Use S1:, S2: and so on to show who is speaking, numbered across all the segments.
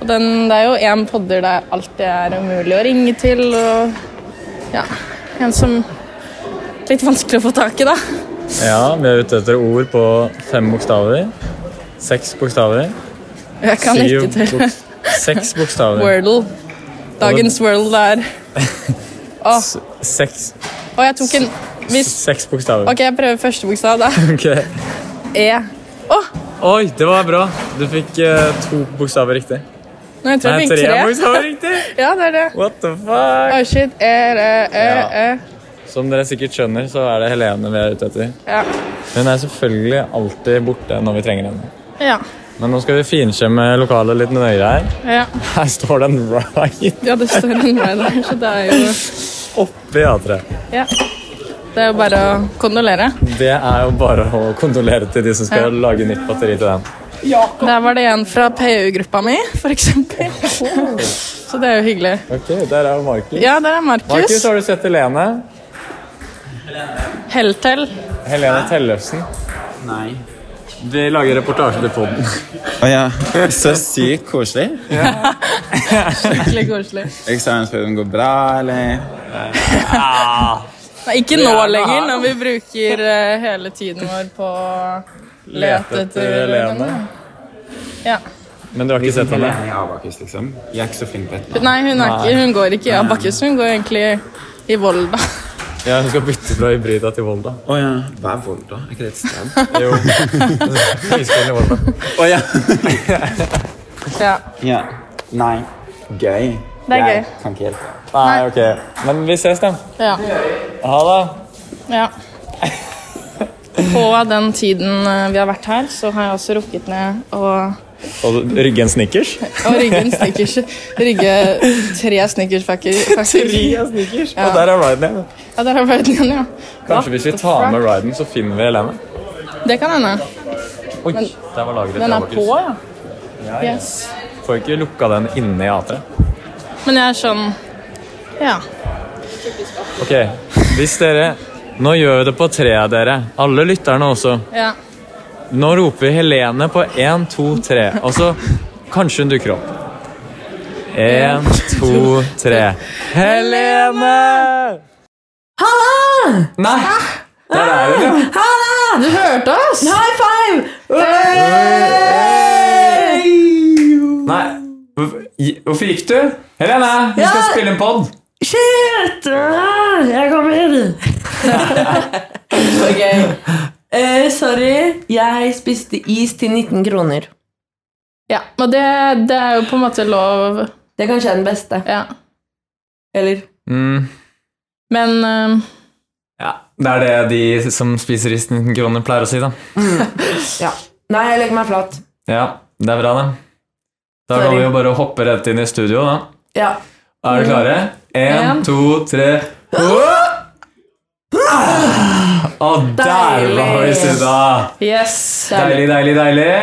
S1: Og den, det er jo én podder det alltid er umulig å ringe til, og ja En som Litt vanskelig å få tak i, da.
S2: Ja, vi er ute etter ord på fem bokstaver. Seks bokstaver.
S1: Jeg kan
S2: syv
S1: ikke til
S2: bok- Seks bokstaver.
S1: Wordle. Dagens Wordle er Å,
S2: S- Seks,
S1: å, jeg tok en Hvis
S2: seks bokstaver.
S1: OK, jeg prøver første bokstav, da.
S2: Ok.
S1: E. Å!
S2: Oi, det var bra. Du fikk eh, to bokstaver riktig.
S1: Nå jeg tror
S2: Nei,
S1: jeg
S2: tre
S1: fikk tre.
S2: bokstaver riktig!
S1: Ja, det er det.
S2: What the fuck?
S1: Oh shit. E, re, ø,
S2: Ja.
S1: ø.
S2: Som dere sikkert skjønner, så er det Helene vi er ute etter.
S1: Ja.
S2: Hun er selvfølgelig alltid borte når vi trenger henne.
S1: Ja.
S2: Men nå skal vi finkjemme lokalet litt nøyere her.
S1: ja.
S2: Her står den right
S1: Ja, det står en vei der, så det er jo
S2: oppi A3.
S1: Ja. Det er jo bare å kondolere.
S2: Det er jo bare å kondolere til de som skal
S1: Ja.
S2: lage nytt batteri til den.
S1: Der var det en fra PU-gruppa mi, for eksempel. Så det er jo hyggelig.
S2: Ok, der er jo Markus.
S1: Ja, der er
S2: Markus,
S1: Markus.
S2: har du sett Helene?
S1: Helltel.
S2: Helene Tellefsen.
S3: Nei.
S2: Vi lager reportasje til podden.
S3: Å ja. Så sykt koselig.
S1: Skikkelig koselig.
S3: Eksamensperioden går bra, eller?
S1: Nei, ikke nå lenger, når vi bruker eh, hele tiden vår på å lete etter
S2: Helene.
S1: Ja.
S2: Men du har ikke sett henne?
S3: i Abakus, liksom. Jeg er ikke så flink på dette.
S1: Nei, hun, er ikke, hun går ikke i Abakus, hun går egentlig i Volda.
S2: Ja, hun skal bytte fra Hybrida til Volda.
S3: Å ja. Hva er Volda? Er ikke det et sted?
S2: Jo. Høyskolen i Volda.
S3: Å ja.
S1: Ja.
S3: ja. Nei. Gøy.
S1: Det er
S3: Jeg
S1: gøy.
S3: Kan ikke hjelpe.
S2: Nei, ok. Men vi ses, da.
S1: ja.
S2: Ha det.
S1: Ja. På den tiden eh, vi har vært her, så har jeg også rukket ned og,
S2: Og rygge en snickers?
S1: og rygge en Snickers. Rygge tre Snickers-pakker. faktisk.
S2: Tre snickers?
S1: Ja.
S2: Og der er Ryden igjen.
S1: Ja, der har vært den igjen, ja.
S2: Kanskje hvis vi tar med Ryden, så finner vi Helene.
S1: Det kan hende.
S2: Oi, der var lageret
S1: Den
S2: til
S1: er på,
S2: Markus.
S1: ja. Yes.
S2: Får ikke lukka den inne i A3.
S1: Men jeg er sånn Ja.
S2: Ok, hvis dere Nå gjør vi det på tre av dere. Alle lytterne også.
S1: ja.
S2: Nå roper vi Helene på én, to, tre. Og så kanskje hun dukker opp. Én, to, tre. Helene!
S4: Halla!
S2: Nei! Der er hun, ja.
S4: Halla! Du hørte oss? High five!
S2: Nei. Hvorfor- Hvorfor gikk du? Helene, vi skal
S4: Ja.
S2: spille en pod.
S4: Shit! Ah, Jeg kommer. ok. Eh, sorry, jeg spiste is til 19 kroner.
S1: ja. Og det, det er jo på en måte lov.
S4: Det er kanskje den beste.
S1: Ja.
S4: Eller?
S2: Mm.
S1: Men eh,
S2: Ja, det er det de som spiser i 19 kroner, pleier å si, da.
S4: Ja. Nei, jeg legger meg flat.
S2: Ja, det er bra, det. Da kan
S4: Sorry.
S2: vi jo bare hoppe rett inn i studio, da.
S4: Ja.
S2: Er dere klare? Én,
S1: En.
S2: to, tre Å, ah, der var vi
S4: Deilig.
S2: sudda!
S1: yes.
S2: Deilig, deilig, deilig.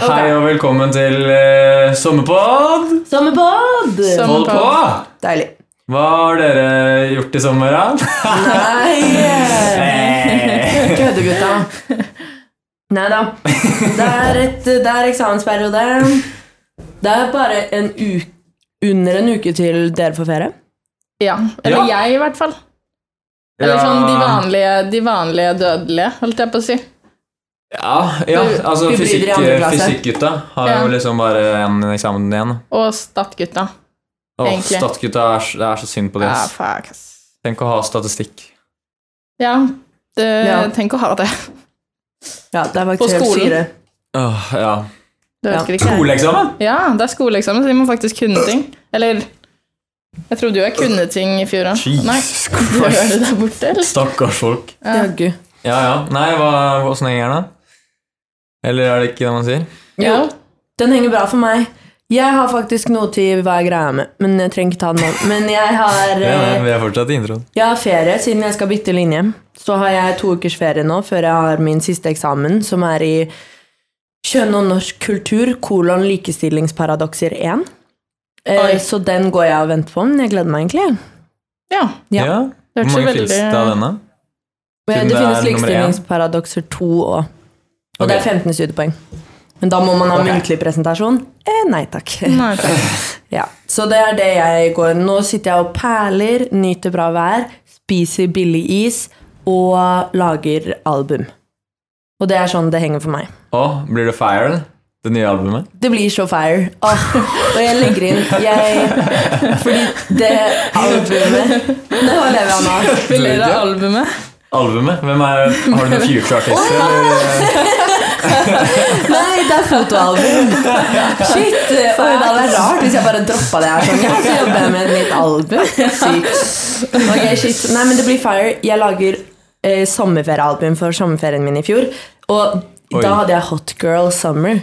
S2: Hei og velkommen til eh, sommerpod.
S4: Sommerbad!
S1: Som-
S2: Hold på!
S4: Deilig.
S2: Hva har dere gjort i sommer, da?
S4: Nei!
S2: Eh,
S4: Kødde, gutta. Nei da. Det er, et, det er eksamensperiode. Det er bare en uke under en uke til dere får ferie.
S1: Ja. Eller jeg, i hvert fall. Eller sånn de
S2: ja,
S1: vanlige, de vanlige dødelige, holdt jeg på å si.
S2: ja, ja, altså
S4: Hybrider i
S2: fysikk,
S4: andre klasse.
S2: fysikkgutta har
S1: Ja.
S2: jo liksom bare én eksamen igjen.
S1: Og Statgutta.
S2: Åh,
S1: Egentlig.
S2: Statgutta er, s- det er så synd på det.
S1: Ja,
S2: ass.
S1: Ah, fuck, ass.
S2: Tenk å ha statistikk.
S1: Ja, det,
S4: Ja.
S1: tenk å ha det.
S4: Ja, det er
S1: På
S4: faktisk helt
S1: skolen.
S4: syre.
S2: Åh, ja.
S1: Du
S4: Ja.
S1: ønsker ikke det.
S2: Skoleeksamen?
S1: Ja, det er skoleeksamen, så de må faktisk kunne ting. Eller jeg trodde jo jeg kunne ting i fjor. da. Nei,
S2: Jesus
S1: gjør
S2: Christ.
S1: du der borte, eller?
S2: Stakkars folk.
S4: Jaggu.
S2: Ja, ja. Nei, hva, åssen henger den, da? Eller er det ikke det man sier?
S4: Jo,
S1: Ja.
S4: den henger bra for meg. Jeg har faktisk noe til hva jeg greier med, men jeg trenger ikke ta den nå. Men jeg har,
S2: Ja, nei,
S4: eh,
S2: vi er fortsatt i introen.
S4: jeg har ferie siden jeg skal bytte linje. Så har jeg to ukers ferie nå før jeg har min siste eksamen, som er i Kjønn og norsk kultur, kolon likestillingsparadokser 1. Eh,
S1: Oi.
S4: så den går jeg og venter på, men jeg gleder meg egentlig.
S1: Ja.
S4: Ja.
S1: Det hørtes
S2: Hvor
S1: jo
S2: mange fins
S1: veldig-
S2: det av denne?
S4: Men
S2: Siden
S4: det
S2: det
S4: finnes
S2: er nummer én.
S4: likestillingsparadokser 2 òg. Og
S2: Ok.
S4: det er 15 studiepoeng. Men da må man ha muntlig presentasjon. Eh, nei takk.
S1: Nei, takk.
S4: Ja, Så det er det jeg går Nå sitter jeg og perler, nyter bra vær, spiser billig is og lager album. Og det er sånn det henger for meg.
S2: Å, blir det Fire? eller? Det nye albumet?
S4: Det blir så fire. Åh, og jeg legger inn jeg, Fordi det albumet Det var det vi hadde nå.
S1: Spiller det albumet?
S2: Albumet? Hvem er, har du noen future-artister? eller?
S4: Nei, det er fotoalbum. Shit. Oi, det hadde vært rart hvis jeg bare droppa det her. Sånn, ja, så jobber jeg med et nytt album. Sykt. Ok, shit. Nei, men det blir fire. Jeg lager eh, sommerferiealbum for sommerferien min i fjor. Og
S2: Oi.
S4: da hadde jeg Hot Girl Summer.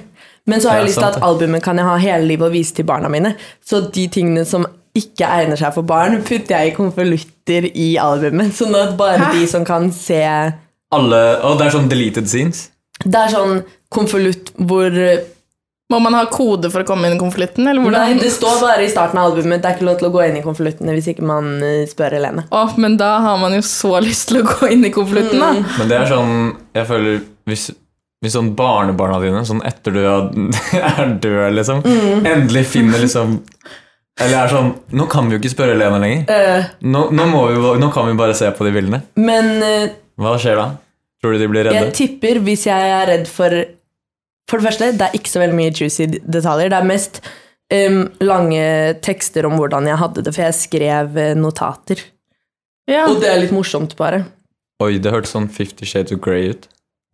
S4: Men så har
S2: Ja,
S4: jeg lyst til
S2: sant
S4: at albumet kan jeg ha hele livet og vise til barna mine. Så de tingene som ikke egner seg for barn, putter jeg i konvolutter i albumet. Sånn at bare de som kan se
S2: Alle, å, det er sånn deleted scenes?
S4: Det er sånn konvolutt hvor eh,
S1: Må man ha kode for å komme inn i konvolutten, eller hvordan?
S4: Nei, det står bare i starten av albumet. Det er ikke lov til å gå inn i konvoluttene hvis ikke man eh, spør Helene.
S1: Å, men da har man jo så lyst til å gå inn i konvolutten, da.
S2: Men det er sånn Jeg føler Hvis, hvis sånn barnebarna dine, sånn etter du er er død, liksom,
S4: Mm.
S2: endelig finner liksom Eller er sånn Nå kan vi jo ikke spørre Helene lenger.
S4: Eh,
S2: Nå, nå, må vi, bare- nå kan vi bare se på de bildene.
S4: Men eh,
S2: Hva skjer da? Tror du de blir
S4: jeg
S2: redde?
S4: tipper, hvis jeg er redd for For det første, det er ikke så veldig mye juicy detaljer. Det er mest em, lange tekster om hvordan jeg hadde det, for jeg skrev eh, notater.
S1: Ja.
S4: Og det er litt morsomt, bare.
S2: Oi, det hørtes sånn Fifty Shades of Grey ut.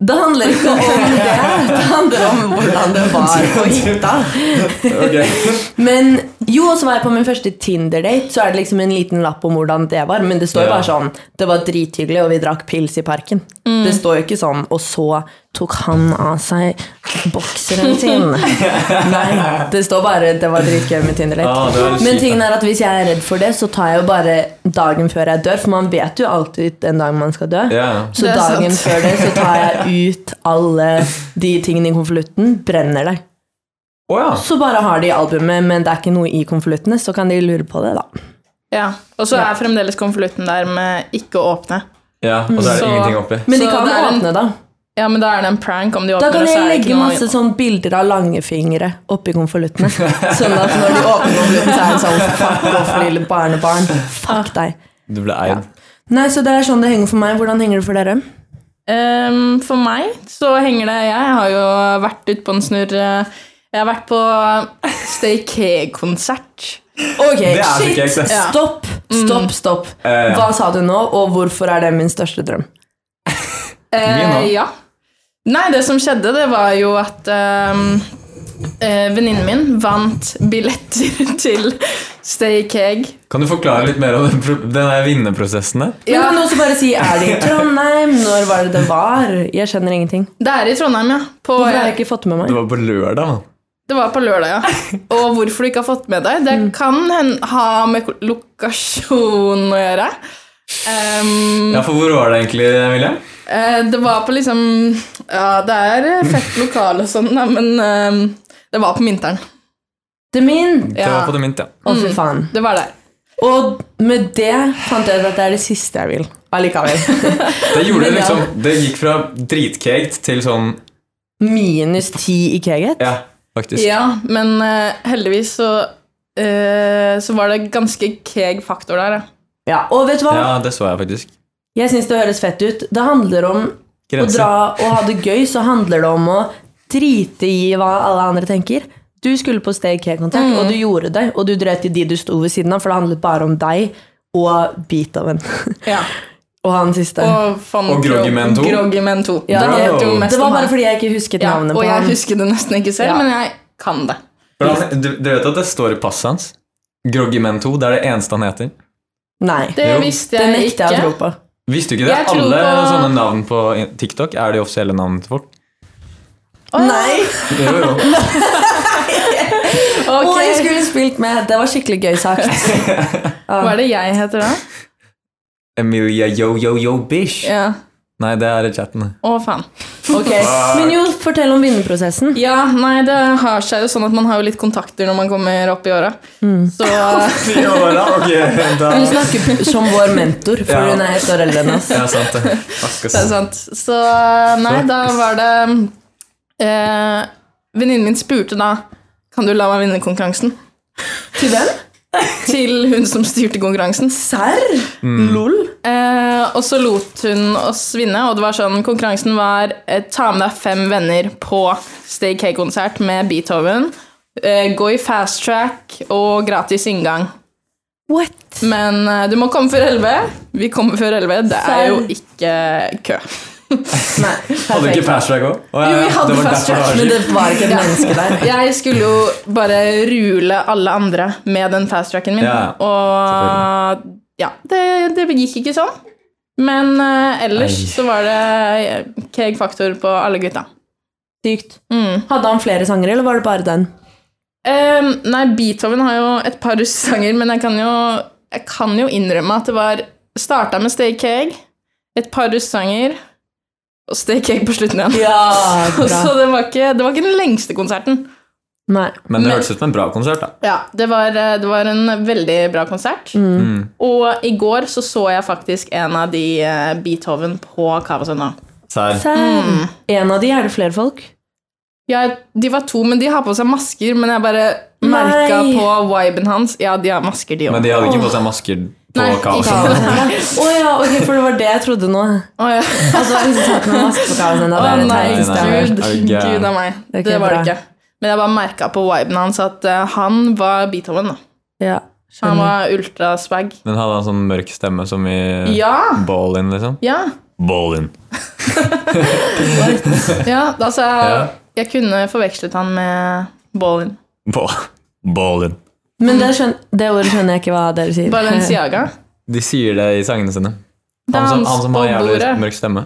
S4: Det handler ikke om det. Det handler om hvordan det var på hytta. Men jo, og så var jeg på min første Tinder-date, så er det liksom en liten lapp om hvordan det var. Men det står jo
S2: Ja.
S4: bare sånn Det var drithyggelig, og vi drakk pils i parken.
S1: Mm.
S4: Det står jo ikke sånn Og så tok han av seg bokseren sin. Nei. Det står bare Det var dritgøy med Tinder-date.
S2: Ah, det var litt
S4: Men
S2: kjipt,
S4: tingen
S2: da.
S4: er at hvis jeg er redd for det, så tar jeg jo bare dagen før jeg dør, for man vet jo alltid den dagen man skal dø.
S2: Ja, ja.
S4: Så
S1: Det er
S4: dagen
S1: sant.
S4: før det så tar jeg ut alle de tingene i konvolutten, brenner det.
S2: Å ja.
S4: Så bare har de albumet, men det er ikke noe i konvoluttene, så kan de lure på det, da.
S1: ja. Og så er fremdeles konvolutten der med ikke å åpne.
S2: ja! Og så er det
S1: Så-
S2: ingenting oppi.
S4: Men de
S1: Så
S4: kan
S1: det er en-
S4: åpne, da.
S1: Ja, men da er det en prank om de
S4: Da
S1: åpner,
S4: kan
S1: og så
S4: jeg
S1: er det
S4: legge
S1: ikke noe
S4: masse sånn bilder av langfingre oppi konvoluttene. Sånn at når de åpner konvolutten, så er det sånn Fuck off, lille barnebarn. Fuck deg.
S2: Du ble eid.
S4: Nei, så det er sånn det henger for meg. Hvordan henger det for dere?
S1: Ehm, for meg så henger det Jeg har jo vært ute på en snurr eh, Jeg har vært på Stay K-konsert.
S4: Ok,
S2: er så
S4: shit!
S2: kjekt, ass.
S1: Ja.
S4: Stopp,
S1: Mm.
S4: stopp, stopp.
S2: Eh, ja.
S4: Hva sa du nå, og hvorfor er det min største drøm?
S1: Eh,
S2: Min, da?
S1: ja. Nei, det som skjedde, det var jo at ehm, eh, venninnen min vant billetter til Stay Keg.
S2: Kan du forklare litt mer om den pro- den der vinnerprosessen der?
S4: Men
S1: Ja.
S4: kan du også bare si er det i Trondheim? Når var det det var? Jeg skjønner ingenting.
S1: Det er i Trondheim, ja. På,
S4: Hvorfor har jeg ikke fått med meg?
S2: Det var på lørdag, mann.
S1: Det var på lørdag, ja. Og hvorfor du ikke har fått med deg, det
S4: Mm.
S1: kan hen- ha med ko- lokasjon å gjøre. Ehm,
S2: Ja, for hvor var det egentlig, William?
S1: eh, det var på liksom Ja, det er fett lokal og sånn, da, men ehm, det var på Minteren.
S4: Det er min!
S2: Det
S1: Ja.
S2: var på det mint, ja.
S4: Å,
S1: Mm.
S4: fy faen.
S1: Det var der.
S4: Og med det fant jeg ut at det er det siste jeg vil. Allikevel.
S2: Det gjorde det
S4: Men ja.
S2: liksom Det gikk fra dritkekt til sånn
S4: Minus ti i keget.
S2: Ja, faktisk.
S1: Ja, men eh, heldigvis så eh, Så var det ganske keeg faktor der, ja.
S4: Ja, og vet du hva?
S2: Ja, det så jeg faktisk.
S4: Jeg syns det høres fett ut. Det handler om å
S2: Grenser.
S4: dra og ha det gøy, så handler det om å drite i hva alle andre tenker. Du skulle på Stay K-konsert,
S1: Mm.
S4: og du gjorde det. Og du dreit i de du sto ved siden av, for det handlet bare om deg og Beethoven.
S1: ja.
S4: og han siste.
S1: Og, von
S2: Og Groggy
S1: Krog-
S2: Man 2.
S1: Groggy Man 2.
S4: Ja,
S1: det,
S2: det-
S1: heter jo mest
S4: det var
S1: om
S4: bare
S1: han.
S4: fordi jeg ikke husket
S1: ja,
S4: navnet
S1: Og
S4: på
S1: jeg
S4: ham.
S1: husker det nesten ikke selv,
S4: Ja.
S1: men jeg kan det.
S2: For han- Du, du vet at det står i passet hans? Groggy Man 2, det er det eneste han heter.
S4: Nei,
S1: Det
S2: Jo.
S1: visste
S4: det
S1: jeg ikke.
S4: nekter jeg å tro på.
S2: Visste du ikke det?
S1: Jeg tror
S2: Alle
S1: på-
S2: sånne navn på TikTok er de offisielle navnene til folk.
S1: Å, ja.
S4: Nei!
S2: Jo, jo.
S4: Og jeg
S1: Ok,
S4: skulle spilt med. Det var skikkelig gøy sagt.
S1: Hva er det jeg heter da?
S2: Emilia yo-yo-yo-bish.
S1: Ja.
S2: Nei, det er i chatten.
S1: Å, faen.
S4: Ok, Men jo, fortell om vinnerprosessen.
S1: Ja, nei, det har seg jo sånn at man har jo litt kontakter når man kommer opp i åra. Så
S2: Ti år, da? Ok, da.
S4: Hun snakker som vår mentor, for
S2: Ja.
S4: hun er ett år eldre enn oss.
S2: Ja, sant
S1: det
S2: det.
S1: er sånn
S2: Akkurat.
S1: sant. Så nei, da var det eh, Venninnen min spurte da Kan du la meg vinne konkurransen.
S4: Til hvem?
S1: Til hun som styrte konkurransen.
S4: Serr? Lol.
S1: Eh, og så lot hun oss vinne, og det var sånn, konkurransen var eh, ta med deg fem venner på Stay K-konsert med Beethoven. Eh, gå i fast track og gratis inngang.
S4: What?
S1: Men eh, du må komme før 11. Vi kommer før 11. Det er jo
S4: Serr?
S1: ikke kø.
S4: Nei,
S2: Hadde du ikke
S4: perfekt.
S2: fast track òg?
S1: Jo, vi hadde fast track,
S4: Men det var ikke et menneske der.
S1: Jeg skulle jo bare rule alle andre med den fast tracken min.
S2: Ja,
S1: og ja, det, det gikk ikke sånn. Men eh, ellers
S2: Ei.
S1: så var det eh, keg faktor på alle gutta.
S4: Sykt. Hadde han flere sanger, eller var det bare den?
S1: Ehm, nei, Beethoven har jo et par russesanger, men jeg kan jo, jeg kan jo innrømme at det var Starta med Stay Keg, et par russesanger, og Stay Keg på slutten igjen.
S4: Ja,
S1: Så det var, ikke, det var ikke den lengste konserten.
S4: Nei.
S2: Men det hørtes ut som en bra konsert, da.
S1: Ja, det var, eh, det var en veldig bra konsert. Og i går så så jeg faktisk en av de eh, Beethoven på Kavasøndag.
S2: Serr.
S4: Serr. En av de er det flere folk.
S1: Ja, de var to, men de har på seg masker. Men jeg bare merka
S4: Nei.
S1: på viben hans. Ja, de har masker, de òg.
S2: Men de hadde ikke på seg masker på
S1: Nei,
S2: kaosen.
S1: ikke.
S4: Å ja, ok, for det var det jeg trodde nå.
S1: Å, ja.
S4: Altså, jeg liksom satt med maske på kaosen. Det
S1: Å
S4: er det
S1: nei,
S4: teiteste jeg har hørt.
S1: gud,
S2: Er du gæren?
S1: gud av meg.
S4: Det er ikke
S1: Det var det
S4: bra.
S1: ikke. Men jeg bare merka på viben hans at eh, han var Beethoven. da.
S4: Ja,
S1: Han
S4: skjønner.
S1: var ultraspag.
S2: Den hadde en sånn mørk stemme som i
S1: Ja!
S2: Ballin, liksom.
S1: Ja.
S2: Ballin.
S1: ja altså,
S2: Ja.
S1: jeg kunne forvekslet han med Ballin.
S2: Ballin.
S4: Men det, skjøn det ordet skjønner jeg ikke hva dere sier.
S1: Balenciaga.
S2: De sier det i sangene sine.
S1: Det
S2: Han
S1: er
S2: som,
S1: hans
S2: han som har
S1: på
S2: jævlig
S1: bordet.
S2: mørk stemme.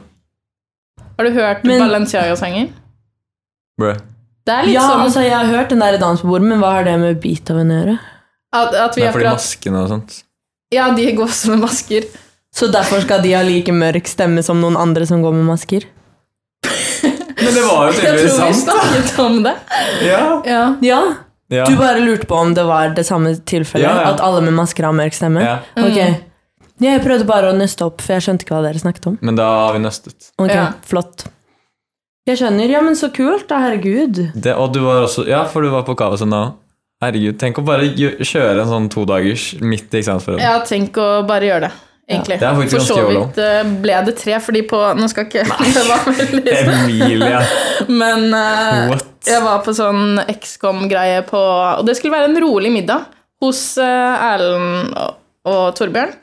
S1: Har du hørt
S4: Men-
S1: Balenciaga-sanger?
S2: Bro.
S1: Det er litt sånn
S4: Ja,
S1: som
S4: altså, jeg har hørt den der dans på bordet, men hva har det med Beethoven å gjøre?
S1: at, at vi
S2: Det er fordi
S1: akkurat
S2: maskene og sånt.
S1: Ja, de går også med masker.
S4: Så derfor skal de ha like mørk stemme som noen andre som går med masker?
S2: Men det var jo
S1: Jeg
S2: tydeligvis
S1: tror vi
S2: sant.
S1: snakket om det.
S2: Ja.
S1: Ja.
S4: Ja,
S2: Ja.
S4: Du bare lurte på om det var det samme tilfellet?
S2: Ja, ja.
S4: At alle med masker har mørk stemme?
S2: ja.
S1: Mm.
S4: Ok. Jeg prøvde bare å nøste opp, for jeg skjønte ikke hva dere snakket om.
S2: Men da har vi nøstet.
S4: Ok,
S1: Ja.
S4: flott. Jeg skjønner. Ja, men så kult, da. Herregud.
S2: Det, og du var også Ja, for du var på Kavasund da òg. Herregud, tenk å bare gjø- kjøre en sånn todagers midt i eksamensperioden.
S1: Ja, tenk å bare gjøre det. Egentlig.
S2: Det er faktisk
S1: For så
S2: ganske jolo.
S1: vidt eh, ble det tre, fordi på Nå skal ikke Det var veldig
S2: Emilia,
S1: Men eh,
S2: what?
S1: jeg var på sånn XCOM-greie på Og det skulle være en rolig middag hos eh, Erlend og, og Torbjørn.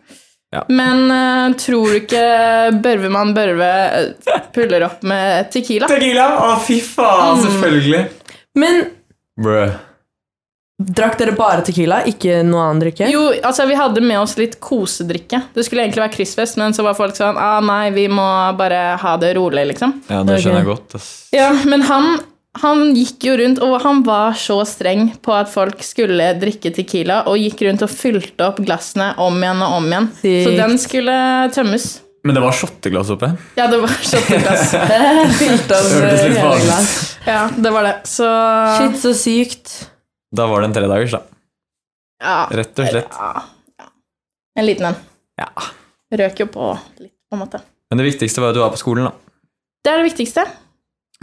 S2: Ja.
S1: Men eh, tror du ikke Børvemann Børve eh, puller opp med tequila?
S2: Tequila? Å, fy
S1: Mm.
S2: faen, selvfølgelig.
S4: Men
S2: Brø.
S4: drakk dere bare tequila, ikke noe annen drikke?
S1: Jo, altså vi hadde med oss litt kosedrikke. Det skulle egentlig være kryssfest, men så var folk sånn ah, Nei, vi må bare ha det rolig, liksom.
S2: Ja, det skjønner
S4: Ok.
S2: jeg godt. Ass.
S1: Ja, men han, han gikk jo rundt, og han var så streng på at folk skulle drikke tequila, og gikk rundt og fylte opp glassene om igjen og om igjen. Så
S4: Sykt.
S1: den skulle tømmes.
S2: Men det var shotteglass oppe.
S1: Ja, det var shotteglass.
S4: Fylt av
S2: Det hørtes litt
S4: hele
S2: farlig ut.
S4: glass.
S1: Ja, det var det. Så
S4: Shit, så sykt.
S2: Da var det en tredagers, da.
S1: ja,
S2: Rett og slett.
S1: ja, ja. En liten en.
S2: Ja.
S1: Røk jo på litt, på en måte.
S2: Men det viktigste var at du var på skolen, da.
S1: Det er det viktigste.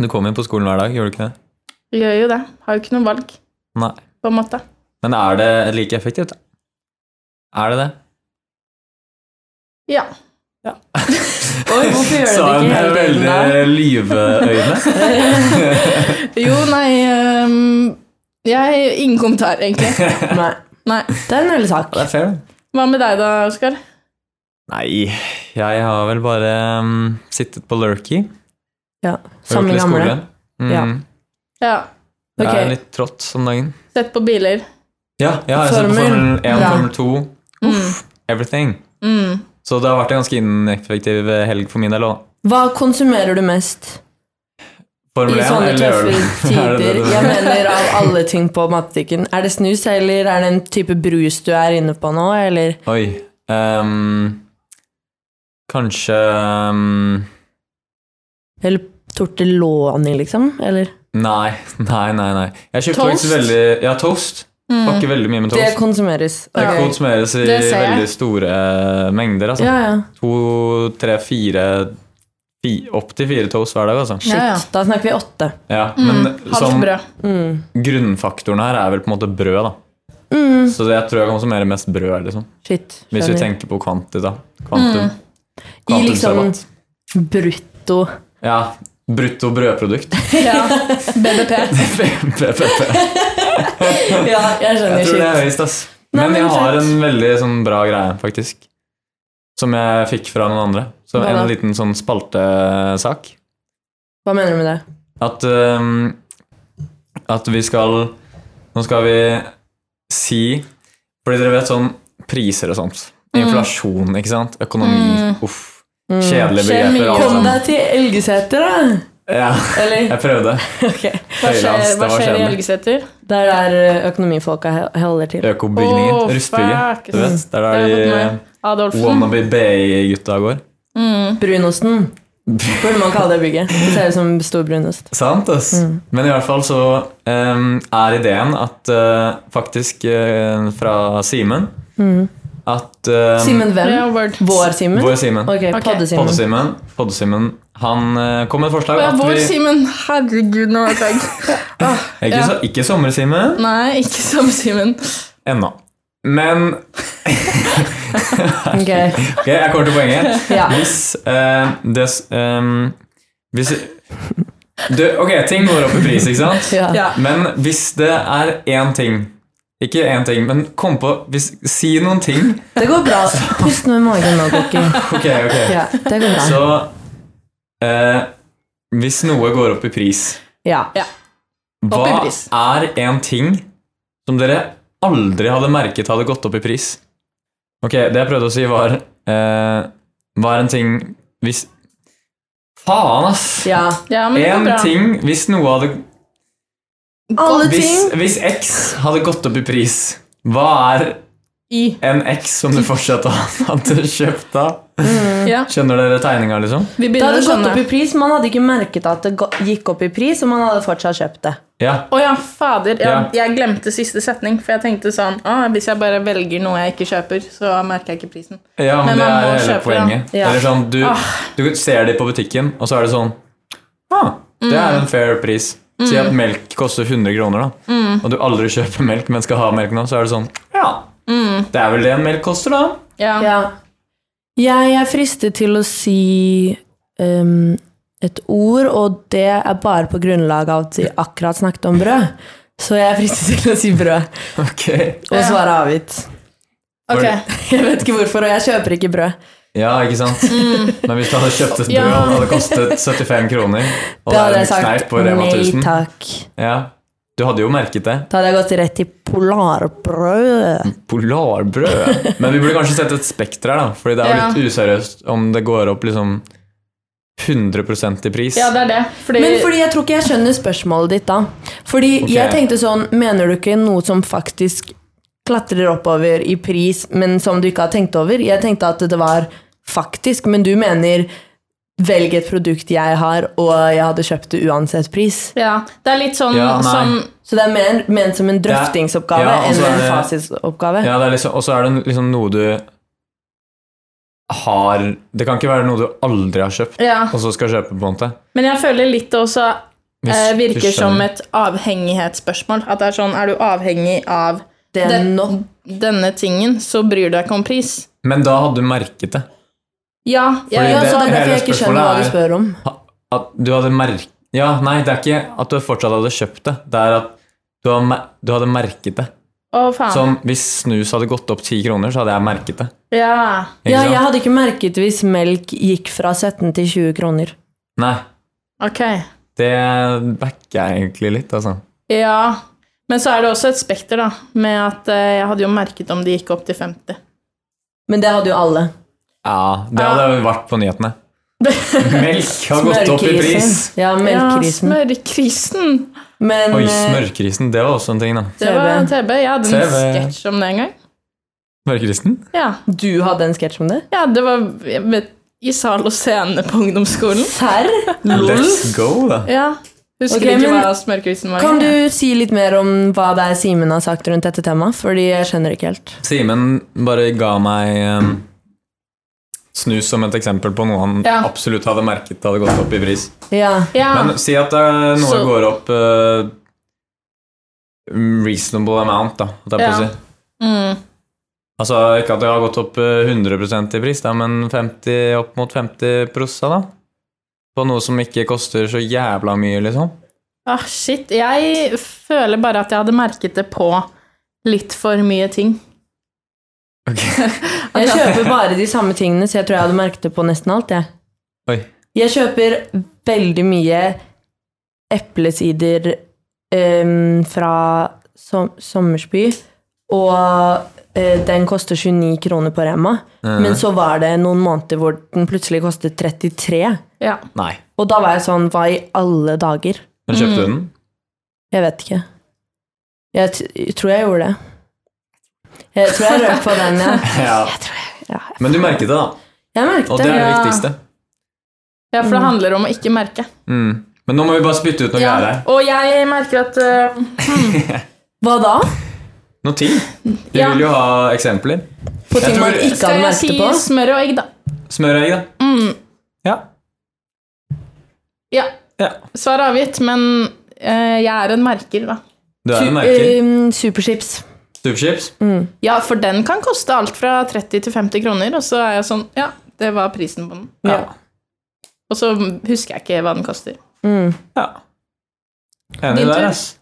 S2: Du kom jo på skolen hver dag, gjorde du ikke det?
S1: Vi gjør jo det. Har jo ikke noe valg,
S2: Nei.
S1: på en måte.
S2: Men er det like effektivt, da? Er det det?
S1: Ja.
S4: Oi, hvorfor gjør dere det ikke hele tiden da?
S2: lyveøyne.
S1: Jo, nei øhm, Jeg Ingen kommentar, egentlig.
S4: Nei.
S1: Nei.
S4: Det er en ærlig sak.
S2: Det er fair, da.
S1: Hva med deg da, Oskar?
S2: Nei, jeg har vel bare um, sittet på lurky.
S4: Ja.
S2: og gjort
S4: Samme
S2: litt
S4: gamle.
S2: skole. Mm.
S4: Ja.
S1: Ja.
S2: Det
S4: Ok.
S2: er litt trått om dagen.
S1: Sett på biler.
S2: Ja, ja jeg ser på
S4: Formel.
S2: Formel 1,
S4: Bra.
S2: Formel 2, everything.
S1: Mm.
S2: Så det har vært en ganske ineffektiv helg for min del òg.
S4: Hva konsumerer du mest?
S2: Formel
S4: I
S2: 1,
S4: sånne
S2: eller gjør
S4: tøffe
S2: du- er det det
S4: tider.
S2: du-
S4: Jeg mener av alle ting på mattetikken. Er det snus, eller er det en type brus du er inne på nå, eller
S2: Oi. ehm, kanskje ehm,
S4: Eller tortelloni, liksom? Eller?
S2: Nei, nei, nei. nei. Jeg kjøpte
S1: Toast?
S2: faktisk veldig Ja, toast. Pakker veldig mye med toast.
S4: Det konsumeres.
S2: Det altså.
S4: Ok.
S2: konsumeres i
S1: Det ser jeg.
S2: veldig store eh, mengder. Altså.
S4: Ja, ja.
S2: To, tre, fire fi, Opp til fire toast hver dag, altså.
S4: Shit.
S1: Ja, ja.
S4: Da snakker vi åtte.
S2: Ja,
S1: Mm.
S2: men
S1: Halvt
S2: sånn-
S1: brød. Mm.
S2: grunnfaktoren her er vel på en måte brød, da. Så det jeg tror jeg konsumerer mest brød, liksom.
S4: Mm. Shit.
S2: Hvis vi
S4: skjønner.
S2: tenker på kvantita. Kvantum.
S4: I liksom
S2: Kvantumsrabatt.
S4: brutto
S2: Ja. Brutto brødprodukt.
S1: Ja. BBP.
S2: BPP.
S4: Ja, jeg skjønner.
S2: Jeg tror det er
S4: Shit.
S2: høyest, ass.
S4: Nei,
S2: Men
S4: men
S2: jeg har
S4: fett.
S2: en veldig sånn bra greie, faktisk. Som jeg fikk fra noen andre. Så
S4: Hva
S2: en
S4: da?
S2: liten sånn spaltesak.
S4: Hva mener du med det?
S2: At øhm, At vi skal Nå skal vi si Fordi dere vet sånn priser og sånt.
S1: Mm.
S2: Inflasjon, ikke sant? Økonomi. Uff. Kjedelige
S1: Mm. Kjemi.
S2: begreper. alle
S4: Mm. Kom
S2: sammen.
S4: deg til Elgeseter, da!
S2: Ja,
S4: Eller
S2: jeg prøvde.
S4: ok.
S1: Hva skjer,
S2: Høylands, det
S1: hva
S2: var
S1: skjer i
S2: kjedelig.
S1: Elgeseter?
S4: Der er eh, økonomifolka he- holder til.
S2: Økobygninger.
S1: Åh,
S2: Rustbygget.
S1: fuck.
S2: Du vet,
S1: Det
S2: der
S1: har jeg fått
S2: er
S1: med.
S2: de
S1: Adolfsen.
S2: wannabe BI-gutta går.
S1: Mm.
S4: Brunosten. Burde man kalle det bygget. Det ser ut som stor brunost.
S2: Sant, ass. Men i hvert fall så em, er ideen at eh, faktisk eh, fra Simen At eh,
S4: Simen hvem?
S1: Ja, word.
S4: Vår Simen?
S2: Vår Simen.
S4: Ok,
S1: Ok.
S4: Podde-Simen.
S2: Podde-Simen. Podde-Simen. Han eh, kom med et forslag
S1: Å, ja,
S2: at
S1: Vår
S2: vi
S1: Simen. Herregud, nå har jeg tenkt.
S2: Ikke,
S1: ja.
S2: så- ikke sommer-Simen
S1: Nei, ikke samme Simen.
S2: ennå. Men
S4: Ok.
S2: ok, jeg kommer til poenget.
S4: Ja.
S2: Hvis eh, det s- em, Hvis du, Ok, ting går opp i pris, ikke sant?
S4: Ja.
S1: Ja.
S2: Men hvis det er én ting Ikke én ting, men kom på hvis, Si noen ting.
S4: Det går bra. Pust med magen nå, Koki.
S2: Ok, ok.
S4: Ja, det går bra.
S2: Så eh, Hvis noe går opp i pris,
S4: Ja.
S2: hva
S1: i pris.
S2: er en ting som dere aldri hadde merket hadde gått opp i pris? Ok, det jeg prøvde å si, var eh, Hva er en ting hvis Faen, ass!
S4: ja.
S1: Ja, men det går
S2: En
S1: bra.
S2: ting hvis noe hadde
S4: Alle
S2: hvis,
S4: ting.
S2: hvis X hadde gått opp i pris, hva er
S1: I.
S2: en X som du fortsatt hadde kjøpt da?
S1: Ja,
S2: Skjønner dere tegninga, liksom?
S1: vi
S4: Det
S1: begynner
S4: hadde
S1: å
S4: gått
S1: skjønne.
S4: opp i pris, man hadde ikke merket at det gå- gikk opp i pris, og man hadde fortsatt kjøpt det.
S2: Ja.
S1: Å ja, fader. Ja,
S2: Ja.
S1: Jeg glemte siste setning, for jeg tenkte sånn ah, Hvis jeg bare velger noe jeg ikke kjøper, så merker jeg ikke prisen.
S2: Ja,
S1: Men
S2: men, det
S1: man
S2: er
S1: må
S2: hele
S1: kjøpe
S2: poenget.
S4: den. Ja. Ah.
S2: Eller sånn, du, du ser det på butikken, og så er det sånn ah, Det er
S4: Mm.
S2: en fair pris. Si at melk koster 100 kroner, da.
S4: Mm.
S2: Og du aldri kjøper melk, men skal ha melk nå, så er det sånn Ja,
S4: Mm.
S2: det er vel det en melk koster, da.
S1: Ja.
S4: Ja. Jeg er fristet til å si ehm, et ord, og det er bare på grunnlag av at vi akkurat snakket om brød. Så jeg er fristet til å si brød,
S2: Ok.
S4: og svaret er avgitt.
S1: Ok.
S4: Jeg vet ikke hvorfor, og jeg kjøper ikke brød.
S2: Ja, ikke sant?
S4: Mm.
S2: Men hvis du hadde kjøpt et brød,
S1: Ja.
S2: og det hadde kostet 75 kroner, og
S4: Da
S2: det er
S4: hadde jeg
S2: en kneip
S4: sagt
S2: på Rema
S4: nei
S2: 1000
S4: takk.
S2: ja. Du hadde jo merket det.
S4: Da hadde jeg gått rett til polarbrød.
S2: Polarbrød. Men vi burde kanskje sette et spekter her, da. Fordi det er jo
S1: Ja.
S2: litt useriøst om det går opp liksom 100 i pris.
S1: Ja, det er det. Fordi,
S4: Men fordi jeg tror ikke jeg skjønner spørsmålet ditt, da. Fordi
S2: Ok.
S4: jeg tenkte sånn, mener du ikke noe som faktisk klatrer oppover i pris, men som du ikke har tenkt over? Jeg tenkte at det var faktisk, men du mener velg et produkt jeg har, og jeg hadde kjøpt det uansett pris.
S1: ja, det er litt sånn
S2: Ja, nei.
S1: som
S4: Så det er mer ment som en drøftingsoppgave
S2: Ja, og så
S4: enn
S2: er
S4: en
S2: det-
S4: fasitsoppgave.
S2: Ja, det er liksom, og så er det liksom noe du har Det kan ikke være noe du aldri har kjøpt,
S1: Ja.
S2: og så skal kjøpe, på en måte.
S1: Men jeg føler litt det også
S2: Hvis
S1: eh,
S2: du
S1: virker
S2: skjønner.
S1: som et avhengighetsspørsmål. At det er sånn Er du avhengig av
S4: Det er
S1: den,
S4: nok.
S1: denne tingen, så bryr du deg ikke om pris.
S2: Men da hadde du merket det.
S1: Ja.
S2: Fordi
S1: Jeg,
S4: Ja,
S2: det-
S4: så det er derfor
S2: hele
S4: jeg ikke skjønner hva
S2: spørsmålet
S4: du
S2: er-
S4: spør om.
S2: Ha- At du hadde merket Ja, nei, det er ikke at du fortsatt hadde kjøpt det. Det er at du hadde, mer- du hadde merket det.
S1: å, faen.
S2: Som hvis snus hadde gått opp 10 kroner, så hadde jeg merket det.
S1: Ja.
S2: Ikke
S4: Ja,
S2: sant?
S4: jeg hadde ikke merket hvis melk gikk fra 17 til 20 kroner.
S2: Nei,
S1: Ok.
S2: det backer jeg egentlig litt, altså.
S1: Ja. Men så er det også et spekter, da, med at eh, jeg hadde jo merket om det gikk opp til 50.
S4: Men det hadde jo alle.
S1: Ah.
S2: Ja, det hadde vært på nyhetene. Melk har gått opp i pris.
S4: Ja, melkerisen.
S1: smørkrisen.
S4: Men
S2: Oi,
S4: eh,
S2: smørkrisen. Det var også en ting, da.
S1: Det var TB. Jeg hadde en
S2: TV.
S1: sketsj om det en gang.
S2: Smørkrisen?
S1: Ja,
S4: du hadde en sketsj om det?
S1: ja det var jeg vet, i sal og scene på ungdomsskolen.
S4: Serr?
S2: Let's go, da.
S1: Ja. Husker
S4: Ok,
S1: ikke
S4: men
S1: hva smørkrisen var.
S4: Kan du si litt mer om hva det er Simen har sagt rundt dette temaet? Fordi jeg skjønner ikke helt.
S2: Simen bare ga meg em, snus som et eksempel på noe han
S1: Ja.
S2: absolutt hadde merket hadde gått opp i pris.
S4: Ja.
S1: Ja.
S2: Men si at det er noe
S1: Så-
S2: går opp eh, reasonable amount, da. holdt jeg på å
S1: Ja.
S2: si.
S1: Mm.
S2: Altså, Ikke at det har gått opp eh, 100 i pris, da, men 50, opp mot 50 prosa, da. På noe som ikke koster så jævla mye, liksom.
S1: Ah, shit. Jeg føler bare at jeg hadde merket det på litt for mye ting.
S4: Jeg kjøper bare de samme tingene, så jeg tror jeg hadde merket det på nesten alt. Jeg,
S2: Oi.
S4: jeg kjøper veldig mye eplesider em, fra som, Sommersby, og eh, den koster 29 kroner på Rema.
S2: Eh,
S4: Men så var det noen måneder hvor den plutselig kostet 33.
S1: Ja.
S2: Nei.
S4: Og da var jeg sånn Hva i alle dager?
S2: Men kjøpte
S1: Mm.
S2: du den?
S4: Jeg vet ikke. Jeg, t jeg tror jeg gjorde det. Jeg tror jeg røk på den, ja.
S2: Ja.
S4: ja.
S2: Men du merket det, da.
S4: Jeg merket
S2: Og det er det
S1: Ja.
S2: viktigste.
S1: ja, for det handler om å ikke merke.
S2: Mm. Men nå må vi bare spytte ut noe
S1: Ja.
S2: greier her.
S1: Og jeg merker at eh,
S4: Hva da?
S2: Noe ting. Vi
S1: Ja.
S2: vil jo ha eksempler.
S4: På
S2: Jeg
S4: ting man
S2: tror-
S4: ikke
S1: Skal
S4: hadde
S1: jeg
S4: merket
S1: si
S4: på?
S1: smør og egg, da? Mm.
S2: Smør og egg, da. Ja.
S1: Ja.
S2: ja.
S1: Svar er avgitt, men eh, jeg er en merker, da.
S2: Du er en
S4: Su-
S1: eh,
S2: merker.
S1: um,
S4: ehm, superchips.
S2: Superchips.
S1: mm. Ja, for den kan koste alt fra 30 til 50 kroner, og så er jeg sånn Ja, det var prisen på den.
S2: Ja.
S1: Og så husker jeg ikke hva den koster.
S4: Mm.
S2: ja. Enig
S1: Din tur.
S2: der, ass.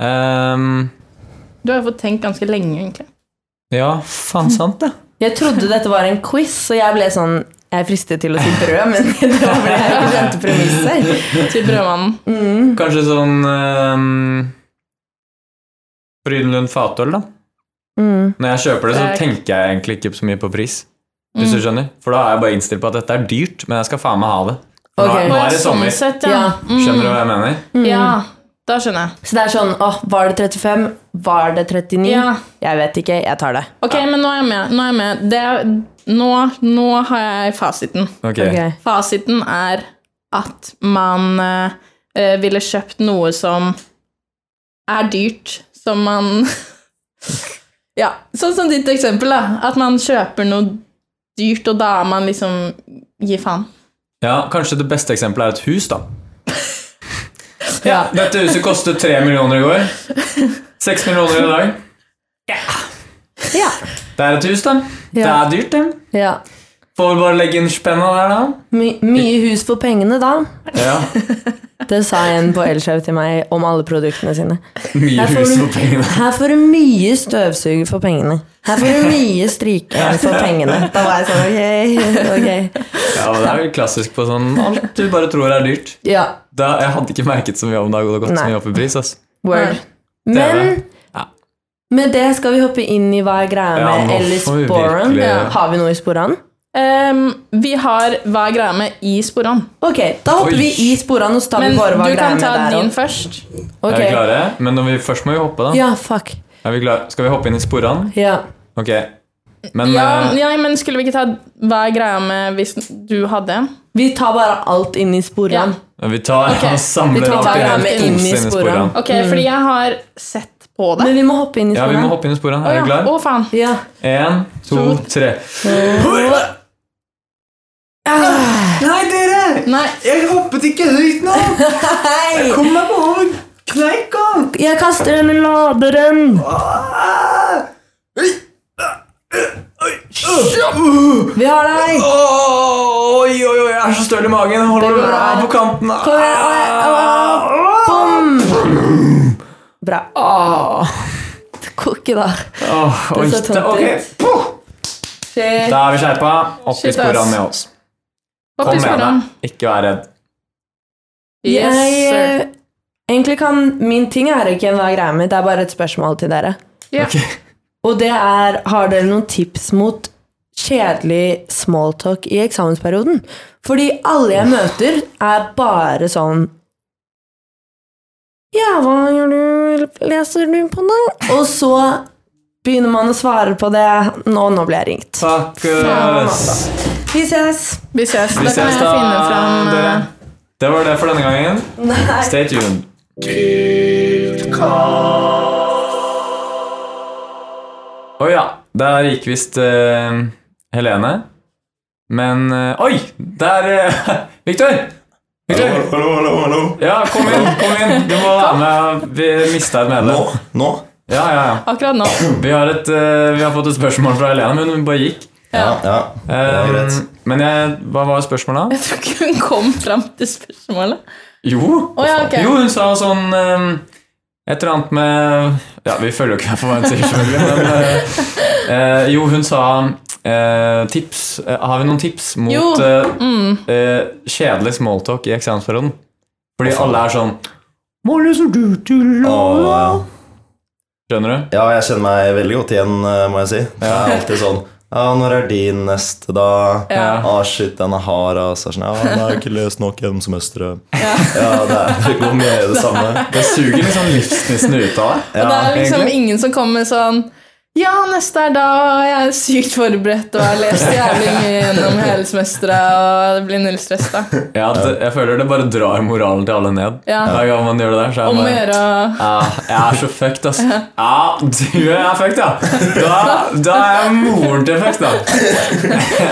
S2: Ehm,
S1: Du har jo fått tenkt ganske lenge, egentlig.
S2: ja, faen sant, det.
S4: Jeg trodde dette var en quiz, så jeg ble sånn Jeg er fristet til å si brød, men det var fordi jeg ikke skjønte premisser.
S1: Til brødmannen.
S2: Kanskje sånn um, Frydenlund Fatøl, da.
S4: Mm.
S2: Når jeg kjøper det, så
S1: Det er- Mm.
S2: tenker jeg egentlig ikke så mye på pris. Hvis du skjønner? For da er jeg bare innstilt på at dette er dyrt, men jeg skal faen meg ha det. For
S4: Ok.
S2: nå, nå er det
S1: Sånn
S2: sommer.
S1: sett, ja.
S4: Ja.
S2: Skjønner du hva jeg mener?
S1: ja. Da skjønner jeg.
S4: Så det er sånn åh, Var det 35? Var det 39?
S1: Ja.
S4: Jeg vet ikke. Jeg tar det.
S1: Ok, men nå er jeg med. Nå, er jeg med. Det er, nå, nå har jeg fasiten.
S2: Ok.
S4: Mm. Ok.
S1: Fasiten er at man eh, eh, ville kjøpt noe som er dyrt, som man Ja, sånn som ditt eksempel, da. At man kjøper noe dyrt, og da er man liksom Gi faen.
S2: Ja, kanskje det beste eksempelet er et hus, da.
S4: Ja.
S2: Dette huset kostet tre millioner i går. Seks millioner i dag.
S4: Ja.
S2: Det er et hus, da. Det
S4: Ja.
S2: er dyrt, det.
S4: ja.
S2: Får vi bare legge inn spenna der, da.
S4: My, mye hus for pengene, da.
S2: Ja,
S4: Det sa en på Elkjøp til meg om alle produktene sine.
S2: Mye
S4: Her får
S2: hus
S4: du-
S2: for pengene.
S4: Her får du mye støvsug for pengene. Her får du mye strykejern for pengene. Da var jeg sånn, ok, ok.
S2: Ja, men Det er vel klassisk på sånn alt du bare tror er dyrt.
S4: Ja,
S2: Da, jeg hadde ikke merket så mye om det hadde gått så
S4: Nei.
S2: mye opp i pris. ass.
S4: word.
S2: Det er
S4: Men
S2: det. Ja.
S4: med det skal vi hoppe inn i hva er greia
S2: Ja,
S4: med
S2: nå
S4: Ellis
S2: får vi
S4: Boran.
S2: virkelig-
S4: Ja. Har vi noe i sporene?
S1: Ehm, vi har Hva er greia med i sporene?
S4: Ok, da hopper
S2: Oi.
S4: vi i sporene og så tar
S1: Men
S4: vi bare hva
S1: du
S4: er greia
S1: kan
S4: med
S1: ta
S4: der.
S1: din
S4: også.
S1: først.
S2: Er vi
S4: Ok,
S2: klare? Men når vi, først må vi hoppe, da.
S4: ja, fuck.
S2: Er vi klare? Skal vi hoppe inn i sporene?
S4: Ja.
S2: Ok. Men
S1: Ja,
S2: eh,
S1: ja, men skulle vi ikke ta Hva er greia med hvis du hadde en?
S4: Vi tar bare alt inn i
S1: Ja.
S4: sporene.
S2: vi tar
S1: ok.
S2: og samler
S4: Vi tar
S2: alt i
S4: hver
S2: en
S4: med
S2: pose
S4: inn i sporene.
S1: Ok, fordi
S4: Mm.
S1: jeg har sett på det.
S4: Men vi må hoppe inn i
S2: Ja, vi må
S4: sporene.
S2: hoppe inn i sporene.
S1: Å
S2: Er
S1: ja,
S2: du klar?
S1: Å, faen.
S4: Ja,
S2: Én, to, tre. Ah, Nei, dere!
S1: Nei,
S2: Jeg hoppet ikke høyt nå!
S4: Hei!
S2: Kom meg på over kneika!
S4: Jeg kaster denne laderen!
S2: Ah. Uh.
S4: Vi har deg!
S2: Oi, oi, oi, jeg er så støl i magen. Holder du av på kanten?
S4: Kom igjen, oi, Bom! Bra.
S2: Ah,
S4: Koke, da.
S2: åh, oi,
S4: Det så
S2: det-
S4: tungt
S2: ok.
S4: ut.
S2: Puh!
S4: Shit.
S2: Da er vi skjerpa. Opp i
S1: Shit, ass.
S2: sporene med oss.
S1: hopp
S2: Kom
S1: i
S2: med
S1: sporene.
S2: deg. Ikke vær redd.
S1: Yes,
S4: Jeg
S1: sir.
S4: eh, Egentlig kan Min ting er ikke en hva greia med, det er bare et spørsmål til dere.
S1: Ja.
S4: Og det er Har dere noen tips mot kjedelig smalltalk i eksamensperioden. Fordi alle jeg møter, er bare sånn Ja, hva gjør du? Leser du på noe? Og så begynner man å svare på det. Nå, nå ble jeg ringt.
S2: Takkes.
S4: Vi ses!
S1: Vi ses. Da kan
S2: Vi ses
S1: jeg
S2: da,
S1: finne fram eh,
S2: dere. Det var det for denne gangen.
S4: Nei.
S2: Stay tuned. Å ja. Der gikk visst eh, Helene. Men eh, Oi! Der uh, Victor! Victor!
S5: Hallo, hallo, hallo.
S2: Ja, kom inn! kom inn Du må være med. Vi mista et
S5: Nå?
S2: medlem.
S5: Nå?
S2: Ja, ja, ja.
S1: akkurat nå.
S2: Vi har, et, eh, vi har fått et spørsmål fra Helene, men hun bare gikk.
S5: Ja. ja. Det var
S2: Eh,
S5: greit.
S2: men jeg, hva var spørsmålet? da?
S1: Jeg tror ikke hun kom fram til spørsmålet.
S2: Jo,
S1: Å ja, ok.
S2: jo hun sa sånn eh, et eller annet med Ja, vi følger jo ikke med på hva hun sier, selvfølgelig, men eh, eh, Jo, hun sa eh, tips. Eh, har vi noen tips mot
S1: Jo.
S2: eh,
S1: Mm.
S2: eh, kjedelig smalltalk i eksamensperioden? Fordi alle er sånn Hva leser du til?
S5: Um, Og,
S2: Skjønner du?
S5: ja, jeg kjenner meg veldig godt igjen, eh, må jeg si. Jeg er alltid sånn Ja, når er din neste, da?
S1: Ja.
S5: Ah, shit, den er hard, altså. Sånn, ja, den har jeg ikke lest nok gjennom semesteret.
S1: Ja.
S5: Ja, det, er, det går mye i det samme.
S2: Det suger liksom livsnissen ut av deg.
S1: Og det er liksom
S2: egentlig.
S1: ingen som kommer med sånn ja, neste er da, og jeg er sykt forberedt og har lest jævlig mye gjennom hele semesteret. Og det blir null stress, da.
S2: Ja, det, jeg føler det bare drar moralen til alle ned.
S1: Ja.
S2: Hver gang man gjør det der, så er
S1: Om å
S2: man
S1: gjøre å-
S2: Ja, Ah, jeg er så fucked, ass. Ja, du er fucked, ja. Da, da er jeg moren til fucked, da.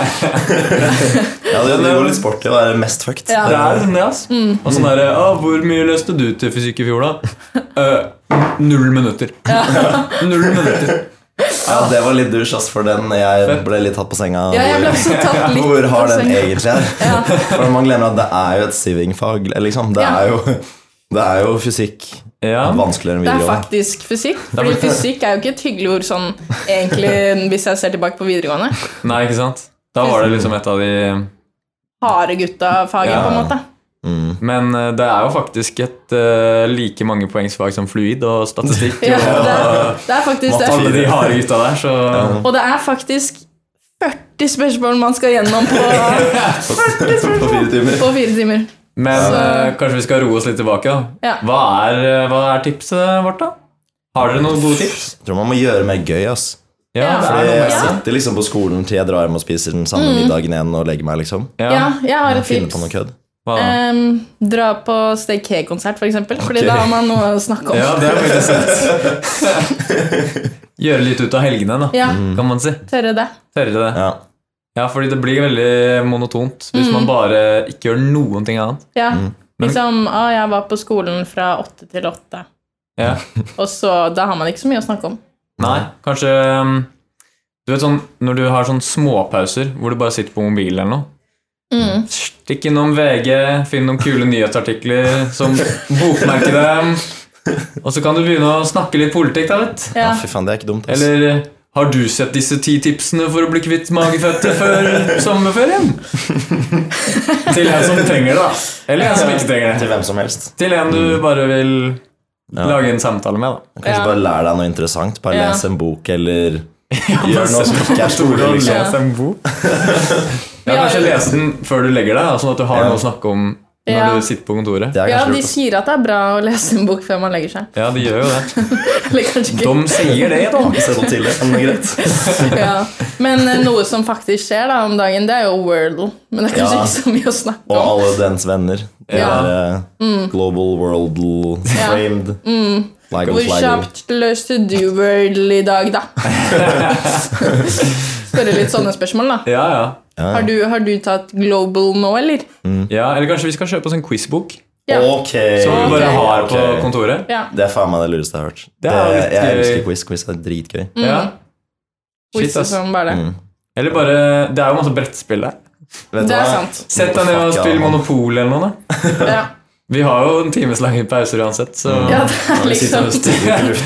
S5: Ja, det, det går litt sporty å være mest fucked.
S1: Ja.
S2: Det er sånn det, ass. Og sånn derre Å, hvor mye løste du til fysikk i fjor, da? «Eh, null minutter. Null minutter.
S5: Ja, det var litt dusj, ass, for den jeg ble litt tatt på senga.
S1: Ja, jeg ble
S5: hvor-
S1: også tatt litt
S5: Hvor har den
S1: senga.
S5: egentlig er? For man glemmer at det er jo et sivingfag. Liksom. Det,
S1: Ja.
S5: er jo, det er jo fysikk
S2: Ja.
S5: vanskeligere enn
S1: Det er
S5: videregående.
S1: faktisk fysikk. Fordi fysikk er jo ikke et hyggelig ord sånn egentlig hvis jeg ser tilbake på videregående.
S2: Nei, ikke sant? Da var det liksom et av de
S1: Harde gutta-faget,
S2: Ja.
S1: på en måte.
S2: Men eh, det er jo faktisk et eh, like mange poengsfag som fluid og statistikk.
S1: Ja,
S2: og
S1: det, er, det er faktisk det.
S2: Alle de harde gutta der, så
S1: Og det er faktisk 40 spørsmål man skal gjennom på,
S5: På fire timer.
S1: på fire timer.
S2: Men
S1: Så-
S2: eh, kanskje vi skal roe oss litt tilbake, da.
S1: Ja.
S2: Hva, er, eh, hva er tipset vårt, da? Har dere noen gode tips?
S5: Jeg tror man må gjøre mer gøy, ass.
S1: Ja.
S2: det er
S5: Fordi
S2: noe med
S5: jeg
S2: det.
S5: sitter liksom på skolen til jeg drar hjem og spiser den samme
S1: Mhm.
S5: middagen igjen og legger meg, liksom.
S1: Ja, Eh, jeg har et
S5: Finne på
S1: tips.
S5: noe kødd.
S2: Hva da?
S1: Em, dra på Stay K-konsert, for eksempel. Fordi
S5: Ok.
S1: da har man noe å snakke om.
S2: Ja, det er faktisk sant. Gjøre litt ut av helgene, da,
S1: Ja,
S5: Mm.
S2: kan man si.
S1: tørre det.
S2: Tørre det.
S5: Ja.
S2: Ja, fordi det blir veldig monotont
S1: Mm.
S2: hvis man bare ikke gjør noen ting annet.
S1: Ja.
S5: Mm.
S1: Liksom, ah, jeg var på skolen fra åtte til åtte.
S2: Ja.
S1: Og så, da har man ikke så mye å snakke om.
S2: Nei, kanskje um, Du vet sånn, Når du har sånn småpauser hvor du bare sitter på mobilen eller noe
S1: Mm,
S2: Stikk innom VG, finn noen kule nyhetsartikler som bokmerker dem. Og så kan du begynne å snakke litt politikk, da, vet
S5: ja,
S1: Ja.
S5: fy faen, det er ikke dumt, ass.
S2: Eller har du sett disse ti tipsene for å bli kvitt magefettet før sommerferien? Til en som trenger det, da. Eller en som ikke trenger det.
S5: Til hvem som helst.
S2: Til en du bare vil lage en samtale med, da.
S1: Ja.
S5: Kanskje bare lær deg noe interessant. Bare
S1: Ja.
S5: les en bok, eller gjør noe som ikke er store, liksom.
S1: lese
S2: en bok. Ja, kanskje lese den før du legger deg, da, sånn at du har noe å snakke om når
S1: Ja.
S2: du sitter på kontoret.
S5: Det er
S1: Ja,
S5: kanskje
S1: de
S5: lurt, altså. ass.
S1: sier at det er bra å lese en bok før man legger seg.
S2: Ja, de gjør jo det.
S1: Eller kanskje ikke.
S2: De sier det, da.
S5: Ikke se så tidlig, men greit.
S1: Ja. Men eh, noe som faktisk skjer da om dagen, det er jo Wordle. Men det er kanskje
S5: Ja.
S1: ikke så mye å snakke
S5: Og
S1: om.
S5: alle dens venner. Det
S1: Ja. Mm.
S5: er eh, global, worldal, framed. Flaggle,
S1: Hvor
S5: flaggle.
S1: kjapt løste du Wordle i dag, da? Spørre litt sånne spørsmål, da.
S2: Ja, ja.
S1: Har du, har du tatt Global nå, eller?
S2: ja. Eller kanskje vi skal kjøpe oss en quizbok
S1: Ja.
S5: Ok!
S2: som
S5: Eh,
S2: vi bare har på
S5: Ok.
S2: kontoret.
S1: Ja.
S5: Det er faen meg det lureste jeg har hørt.
S2: Det
S5: Det
S2: er litt
S5: jeg
S2: gøy.
S5: elsker quiz. Quiz er dritgøy.
S1: Mm,
S2: Ja. Shit,
S1: Quiz og
S2: ass.
S1: sånn, bare det.
S2: Eller bare Det er jo masse brettspill der.
S5: Vet du
S1: Det er
S5: hva?
S1: sant.
S2: Sett deg ned og
S5: Fuck, ja,
S2: spill
S5: man.
S2: Monopol eller noe, da.
S1: Ja.
S2: Vi har jo en timeslange pauser uansett, så
S1: ja, det er liksom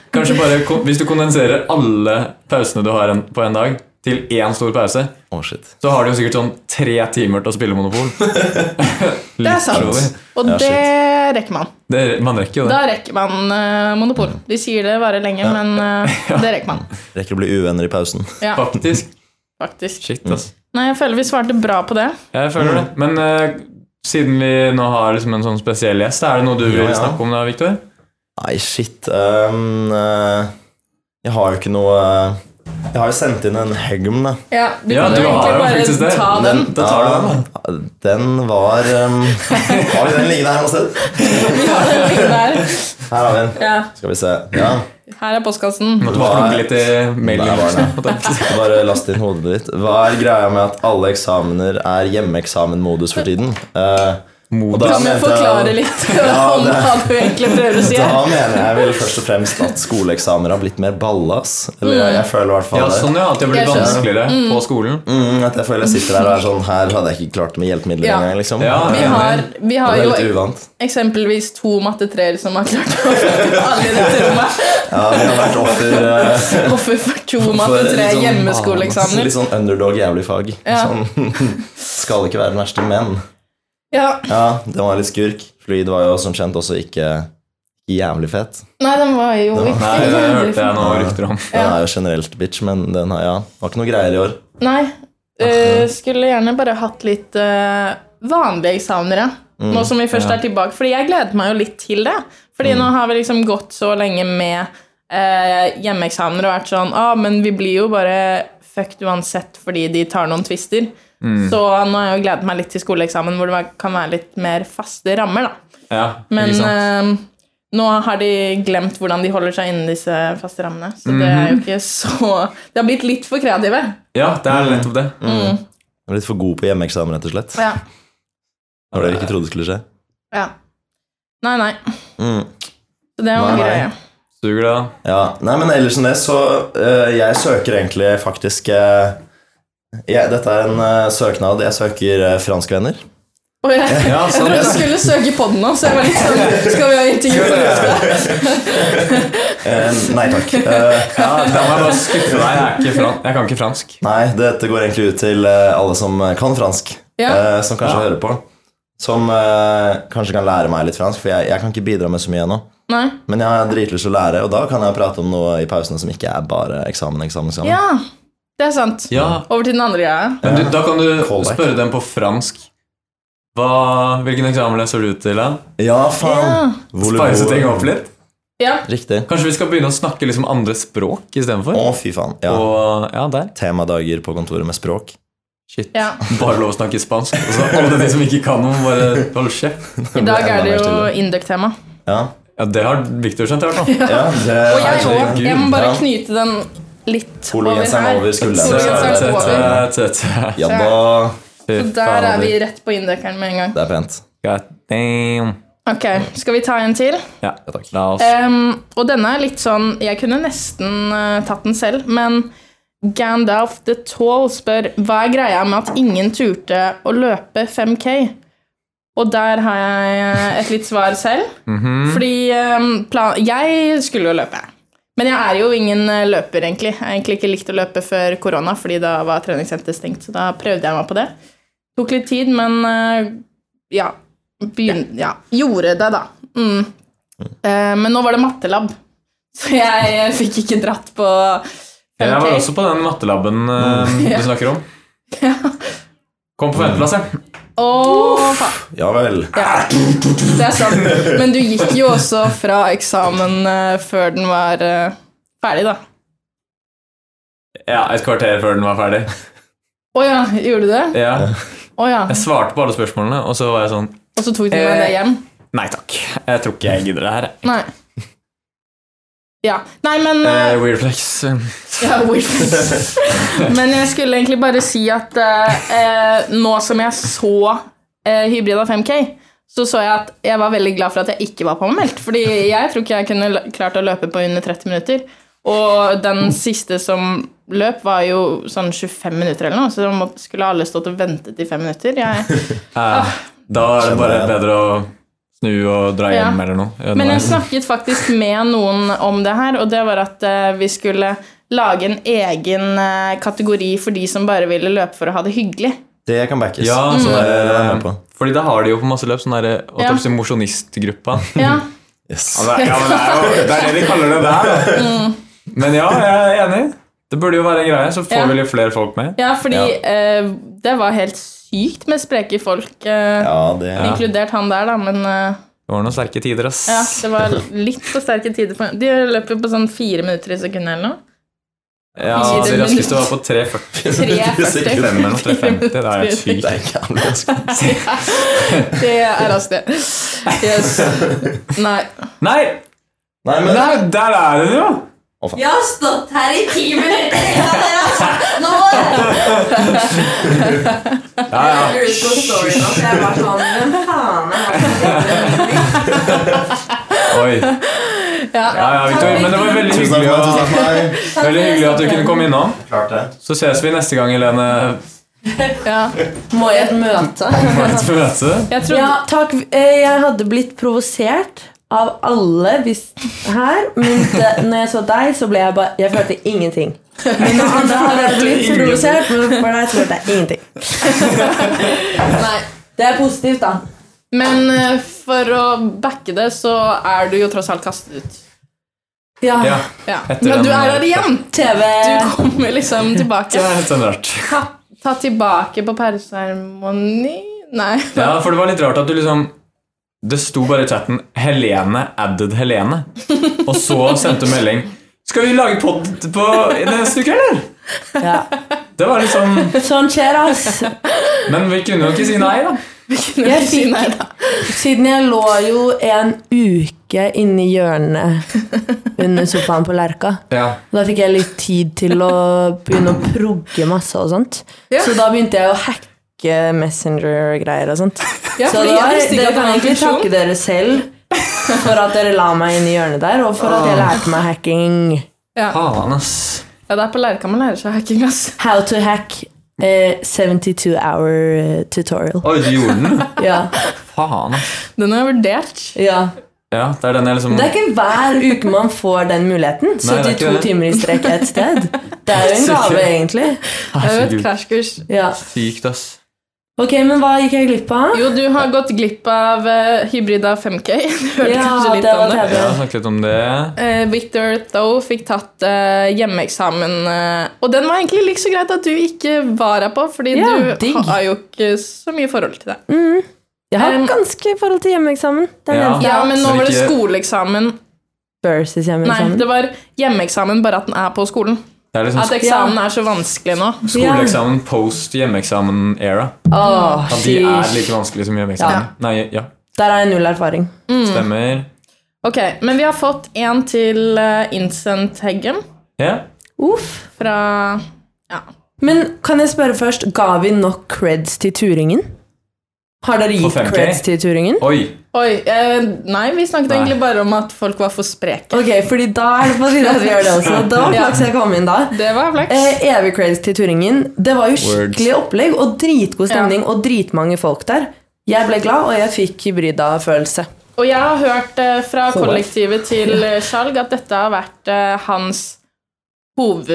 S2: kanskje bare ko- hvis du kondenserer alle pausene du har en, på en dag, til én stor pause,
S5: Å, shit.
S2: så har de jo sikkert sånn tre timer til å spille Monopol.
S1: Det er
S2: Literally.
S1: sant. Og
S5: Ja, shit.
S1: det rekker man.
S2: Det, man rekker jo det.
S1: Da rekker man eh, Monopol. De sier det varer lenge, men eh, det rekker man.
S5: Rekker å bli uvenner i pausen.
S1: Ja,
S2: Faktisk.
S1: faktisk.
S2: Shit, ass.
S1: Nei, jeg føler vi svarte bra på det.
S2: Jeg føler det. Men eh, siden vi nå har liksom en sånn spesiell gjest, er det noe du vil
S5: Ja, ja.
S2: snakke om da, Victor?
S5: Nei, shit. ehm, eh, jeg har jo ikke noe eh, Jeg har jo sendt inn en Hegum, da.
S1: Ja, du
S2: Ja,
S1: kan
S2: du
S1: jo
S2: har jo
S1: egentlig
S2: faktisk
S1: bare
S2: det.
S1: ta den.
S2: Da tar du den, da.
S5: Ja, Den var ehm, Har vi den liggende her noe sted?
S1: Vi har den ligge der.
S5: Her har vi den.
S1: Ja,
S5: Skal vi se. Ja.
S1: her er postkassen.
S2: Måtte bare plukke litt i
S5: Der var
S2: mailen.
S5: den, ja. Bare last inn hodet ditt. Hva er greia med at alle eksamener er hjemmeeksamen-modus for tiden? Eh, og
S2: Modus.
S5: da
S1: Kan du
S5: mente jeg-
S1: forklare litt
S5: Ja,
S1: om
S5: det-
S1: hva du egentlig prøver å si?
S5: Da
S1: her?
S5: mener jeg vel først og fremst at skoleeksamener har blitt mer ballas. Eller
S1: Mm.
S5: jeg, jeg føler i hvert fall
S2: Ja,
S5: det.
S2: sånn ja, at det blir
S1: Jeg skjønner.
S2: vanskeligere på skolen.
S5: Mm, at jeg føler jeg sitter her og er sånn Her hadde jeg ikke klart det med hjelpemidler
S1: Ja.
S5: engang. Liksom.
S2: Ja,
S1: Vi
S2: ja.
S1: har, vi har
S5: det er litt
S1: jo
S5: uvant.
S1: eksempelvis to mattetreer som har klart å få alle i dette rommet.
S5: Ja, vi har vært offer eh,
S1: Hvorfor får to
S5: for litt
S1: mattetreer
S5: sånn-
S1: hjemmeskoleeksamener?
S5: Litt sånn underdog jævlig fag.
S1: Ja.
S5: Sånn, skal ikke være den verste, men
S1: Ja.
S5: Ja, den var litt skurk. Fluid var jo som kjent også ikke jævlig fett.
S1: Nei, den var jo
S5: Den var-
S1: ikke
S2: Nei, det hørte jeg noe
S5: Ja.
S2: rykter om.
S5: Den
S1: Ja.
S5: er jo generelt bitch, men den har, ja, var ikke noe greier i år.
S1: Nei. øh, skulle gjerne bare hatt litt øh, vanlige eksamener, ja.
S2: Mm,
S1: Nå som vi først er tilbake. Fordi jeg gleder meg jo litt til det. Fordi
S2: Mm.
S1: nå har vi liksom gått så lenge med øh, hjemmeeksamener og vært sånn ah, men vi blir jo bare fucked uansett fordi de tar noen twister.
S2: Mm.
S1: Så nå har jeg jo gledet meg litt til skoleeksamen hvor det var- kan være litt mer faste rammer, da.
S2: Ja,
S1: Men
S2: ikke sant?
S1: eh, nå har de glemt hvordan de holder seg innen disse faste rammene. Så det er
S2: Mm.
S1: jo ikke så De har blitt litt for kreative. Mm,
S2: Ja, det er nettopp det.
S5: Jeg er litt for god på hjemmeeksamen, rett og slett.
S1: Ja.
S5: Det var det vi ikke trodde skulle skje.
S1: ja. Nei, nei.
S5: Mm.
S1: Så det var
S5: Nei,
S1: en
S5: nei.
S1: greie.
S2: Suger det, da.
S5: Ja, nei, men ellers enn det, så øh, jeg søker egentlig faktisk øh, jeg, Dette er en øh, søknad. Jeg søker øh, franskvenner.
S1: Og jeg,
S2: Ja,
S1: jeg
S2: sånn.
S1: trodde du skulle søke på den nå, så jeg var litt sånn Skal vi ha intervju på lufta?
S5: Eh, nei takk. Eh,
S2: Ja, da må jeg bare skuffe deg. Jeg, er ikke fran jeg kan ikke fransk.
S5: nei, dette går egentlig ut til øh, alle som øh, kan fransk,
S1: Ja.
S5: eh, som kanskje
S2: Ja.
S5: hører på. Som øh, kanskje kan lære meg litt fransk, for jeg, jeg kan ikke bidra med så mye ennå.
S1: Nei.
S5: Men jeg har dritlyst til å lære, og da kan jeg prate om noe i pausene som ikke er bare eksamen, eksamen, eksamen.
S1: Ja, det er sant.
S2: Ja,
S1: Over til den andre greia.
S2: men du, Da kan du
S5: Callback.
S2: spørre dem på fransk. Hva, hvilken eksamen leser du til? da?
S5: Ja, faen!
S1: Ja.
S5: Volebo-
S2: Spice ting opp litt?
S1: ja.
S5: Riktig.
S2: Kanskje vi skal begynne å snakke liksom andre språk
S5: Å,
S2: istedenfor?
S5: fy faen. Ja.
S2: Og ja, der.
S5: Temadager på kontoret med språk.
S2: Shit.
S1: Ja.
S2: Bare lov å snakke spansk. Og så alle de som ikke kan noe, bare hold kjeft.
S1: I dag er det jo
S5: Enda mer
S1: Induc-tema.
S5: Ja,
S2: Ja, det har Victor skjønt, i hvert fall.
S5: ja det
S1: Og jeg òg. Jeg må bare
S5: Ja.
S1: knyte den litt over
S5: Pologenseren
S1: her.
S5: over skulderen.
S1: Pologenseren
S2: Tø, tø,
S1: over.
S2: tø, tø, tø.
S5: Ja da.
S2: Fy
S1: Så der er vi
S2: fader.
S1: rett på Induc-eren med en gang.
S5: Det er pent.
S2: God damn.
S1: Ok, Skal vi ta en til?
S2: Ja, la oss
S1: Ehm, og denne er litt sånn Jeg kunne nesten eh, tatt den selv, men Gandalf the Tall spør hva er greia med at ingen turte å løpe 5K. Og der har jeg eh, et litt svar selv. Fordi ehm, plan Jeg skulle jo løpe. Men jeg er jo ingen eh, løper, egentlig. Jeg har egentlig ikke likt å løpe før korona, fordi da var treningssenteret stengt. Så da prøvde jeg meg på det. Tok litt tid, men eh, ja, begyn ja. Gjorde det, da. Mm. Eh, Men nå var det mattelab, så jeg eh, fikk ikke dratt på 5K.
S2: Jeg var også på den mattelaben eh,
S1: Mm.
S2: du snakker om. Kom på femteplass, jeg.
S1: Å, faen.
S5: Ja vel.
S1: Det er sant. Men du gikk jo også fra eksamen eh, før den var eh, ferdig, da.
S2: Ja, et kvarter før den var ferdig.
S1: Å ja, gjorde du det?
S2: Ja.
S1: Å ja.
S2: Jeg svarte på alle spørsmålene, og så var jeg sånn
S1: Og så tok du med deg hjem?
S2: Nei takk, jeg tror ikke jeg gidder det her. jeg.
S1: Nei. Ja. Nei, men eh,
S2: Eh, weird flex.
S1: Ja, Wilfred. Men jeg skulle egentlig bare si at eh, eh, nå som jeg så eh, Hybrida 5K, så så jeg at jeg var veldig glad for at jeg ikke var påmeldt. Fordi jeg tror ikke jeg kunne lø- klart å løpe på under 30 minutter. Og den siste som løp, var jo sånn 25 minutter eller noe, så da må- skulle alle stått og ventet i fem minutter. Jeg,
S2: Eh, da er det bare bedre å snu og dra hjem
S1: Ja.
S2: eller noe.
S1: Men jeg snakket faktisk med noen om det her, og det var at eh, vi skulle lage en egen eh, kategori for de som bare ville løpe for å ha det hyggelig.
S5: Det kan backes.
S2: Ja,
S5: Så
S2: sånn
S5: det er jeg med
S2: der,
S5: på.
S2: Fordi da har de jo på masse løp sånn derre
S1: Ja.
S2: ja. mosjonistgruppa.
S1: Ja.
S5: Yes.
S3: Ja, men det er jo det er det de kaller det der. da.
S2: Men ja, jeg er enig. Det burde jo være en greie, så får
S1: Ja.
S2: vi litt flere folk med.
S1: Ja, fordi eh, det var helt sykt med spreke folk, eh,
S5: Ja, det
S1: inkludert han der, da, men eh,
S2: Det var noen sterke tider, ass.
S1: ja, det var litt for sterke tider. For, de løp jo på sånn fire minutter i sekundet eller noe.
S2: Ja, altså,
S1: Ikke det,
S2: det
S1: men-
S2: raskeste var på 3,40.
S1: Tre-
S2: Fem eller noe, 3,50. Det er helt
S5: Det
S2: sykt.
S5: er ikke jævlig vanskelig.
S1: Det er raskt, det. Yes. Nei.
S2: Nei!
S5: Nei, men
S2: Nei, der er hun jo!
S6: Jeg har stått her i ti minutter! Ja, altså- dere har sagt noe!
S2: Ja, ja.
S4: Jeg lurer på storyen, altså. Jeg var sånn, hvem faen er han?
S2: Oi. Ja, ja, Victor, men det var veldig
S5: tusen takk
S2: hyggelig,
S5: for meg. Tusen
S2: å-
S5: takk for meg.
S2: veldig hyggelig at du kunne komme innom.
S5: Klart det.
S2: Så ses vi neste gang, Helene,
S1: Ja.
S4: Må jeg et møte?
S2: på et møte.
S1: Jeg trodde
S4: Ja, takk. Eh, Jeg hadde blitt provosert av alle hvis, her, men det, når jeg så deg, så ble jeg bare Jeg følte ingenting. Men når andre har vært litt provosert, men for deg så følte jeg ingenting.
S1: Nei.
S4: Det er positivt, da.
S1: Men eh, for å backe det, så er du jo tross alt kastet ut.
S4: Ja.
S2: Ja,
S1: Ja.
S2: Etter
S1: Men du
S2: den-
S1: er her igjen!
S4: TV
S1: Du kommer liksom tilbake.
S2: det er litt sånn rart.
S1: Ta, ta tilbake på pæreseremoni Nei.
S2: Ja, for det var litt rart at du liksom Det sto bare i chatten 'Helene added Helene', og så sendte du melding 'Skal vi lage pod på i neste uke, eller?'
S4: ja.
S2: Det var liksom
S4: Sånn skjer, ass.
S2: Men vi kunne jo ikke si nei, da.
S1: Jeg
S4: fikk- Siden jeg lå jo en uke inni hjørnet under sofaen på Lerka.
S2: Ja.
S4: Da fikk jeg litt tid til å begynne å progge masse og sånt.
S1: Ja.
S4: Så da begynte jeg å hacke Messenger-greier og sånt.
S1: Ja,
S4: så
S1: fordi
S4: da,
S1: jeg visste ikke at det
S4: dere kan
S1: var en
S4: egentlig
S1: funksjon.
S4: takke dere selv for at dere la meg inn i hjørnet der, og for at jeg lærte meg hacking.
S2: Faen, ass.
S1: Ja, det er på Lerka man lærer seg hacking, ass.
S4: How to hack eh, 72 hour eh, tutorial.
S2: Oi, du gjorde den?
S4: Ja,
S2: Faen, ass.
S1: Den har jeg vurdert.
S4: ja.
S2: Ja, det er den jeg liksom
S4: Det er ikke hver uke man får den muligheten.
S2: Nei, det er ikke
S4: 72
S2: det.
S4: timer i strekk ett sted. Det er jo en gave, egentlig.
S1: Det er jo et
S2: Herregud,
S1: krasjkurs.
S4: Ja.
S2: Sykt, ass.
S4: Ok, men hva gikk jeg glipp av?
S1: Jo, du har gått glipp av eh, hybrid av 5K. Du hørte
S4: Ja,
S1: kanskje litt
S4: det var
S1: om det.
S4: tredje.
S2: Jeg har snakket litt om det.
S1: Eh, Victor Thoe fikk tatt eh, hjemmeeksamen, eh, og den var egentlig like så greit at du ikke var her på, fordi
S4: Ja,
S1: du
S4: digg.
S1: har jo ikke så mye forhold til det.
S4: Jeg har
S1: Um,
S4: ganske forhold til hjemmeeksamen. Det er
S2: Ja.
S4: den eneste jeg
S1: Ja,
S4: har.
S1: men nå
S2: Så
S1: var det
S2: ikke-
S1: skoleeksamen.
S4: versus
S1: Nei,
S4: hjemmeeksamen.
S1: det var hjemmeeksamen, bare at den er på skolen.
S2: Det er
S1: At
S2: liksom
S1: eksamen er så vanskelig nå.
S2: skoleeksamen post hjemmeeksamen-era.
S4: Åh,
S2: At de er
S4: sheesh.
S2: like vanskelig som hjemmeeksamen. Nei, ja.
S4: Der har jeg null erfaring.
S2: Stemmer.
S1: Ok, Men vi har fått en til eh, innsendt Heggem
S2: Ja.
S4: Uff.
S1: fra ja.
S4: Men kan jeg spørre først, ga vi nok creds til turingen? Har dere gitt
S2: 5K?
S4: creds til turingen?
S2: Oi.
S1: Oi, eh, nei, vi snakket
S2: Nei.
S1: egentlig bare om at folk var for spreke.
S4: Ok, fordi da er det på tide at vi gjør det også. Da var flaks jeg kom inn da.
S1: Det var flaks.
S4: Eh, evig creds til turingen. Det var jo skikkelig opplegg og dritgod stemning og dritmange folk der. Jeg ble glad, og jeg fikk hybrida-følelse.
S1: Og jeg har hørt eh, fra kollektivet til eh, Skjalg at dette har vært eh, hans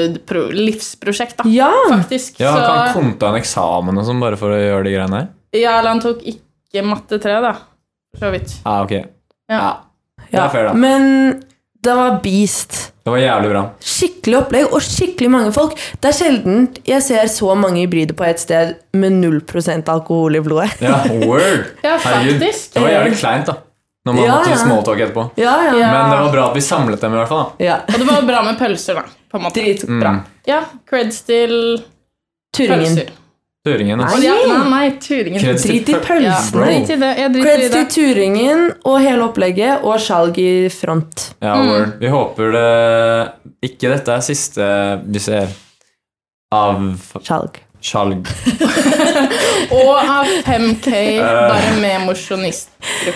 S1: hovedlivsprosjekt, da.
S4: Ja!
S1: Faktisk.
S2: Mm. Ja, han kan
S1: Så
S2: konta en eksamen og sånn bare for å gjøre de greiene her.
S1: ja, eller han tok ikke matte 3, da. For så vidt.
S2: Ja, Ah, ok.
S1: Ja.
S2: Det er fair, da.
S4: Men det var beast.
S2: Det var jævlig bra.
S4: Skikkelig opplegg og skikkelig mange folk. Det er sjelden jeg ser så mange hybrider på ett sted med 0 alkohol i blodet.
S2: Ja, word.
S1: Ja,
S2: Herregud.
S1: faktisk.
S2: Det var jævlig kleint, da. Når man
S4: Ja,
S2: måtte
S4: ja.
S2: smalltalk etterpå.
S4: Ja, ja.
S1: Ja.
S2: Men det var bra at vi samlet dem, i hvert fall. da. Mm.
S4: ja.
S1: Og det var bra med pølser, da. På en måte.
S4: Dritbra.
S1: Ja, creds til
S4: Turingen.
S1: pølser.
S2: Turingen.
S1: Og
S2: ass.
S1: de- nei, nei, turingen.
S2: Kreds til
S4: Drit i
S2: pøl-
S1: Ja,
S4: pølsene.
S2: Bro.
S1: drit i det. Jeg driter i
S4: Creds til
S1: det.
S4: turingen og hele opplegget og skjalg i front.
S2: Ja,
S1: Mm.
S2: word. Vi håper det ikke dette er siste vi ser av
S4: Skjalg.
S2: Skjalg.
S1: Og av 5K, bare med mosjonist.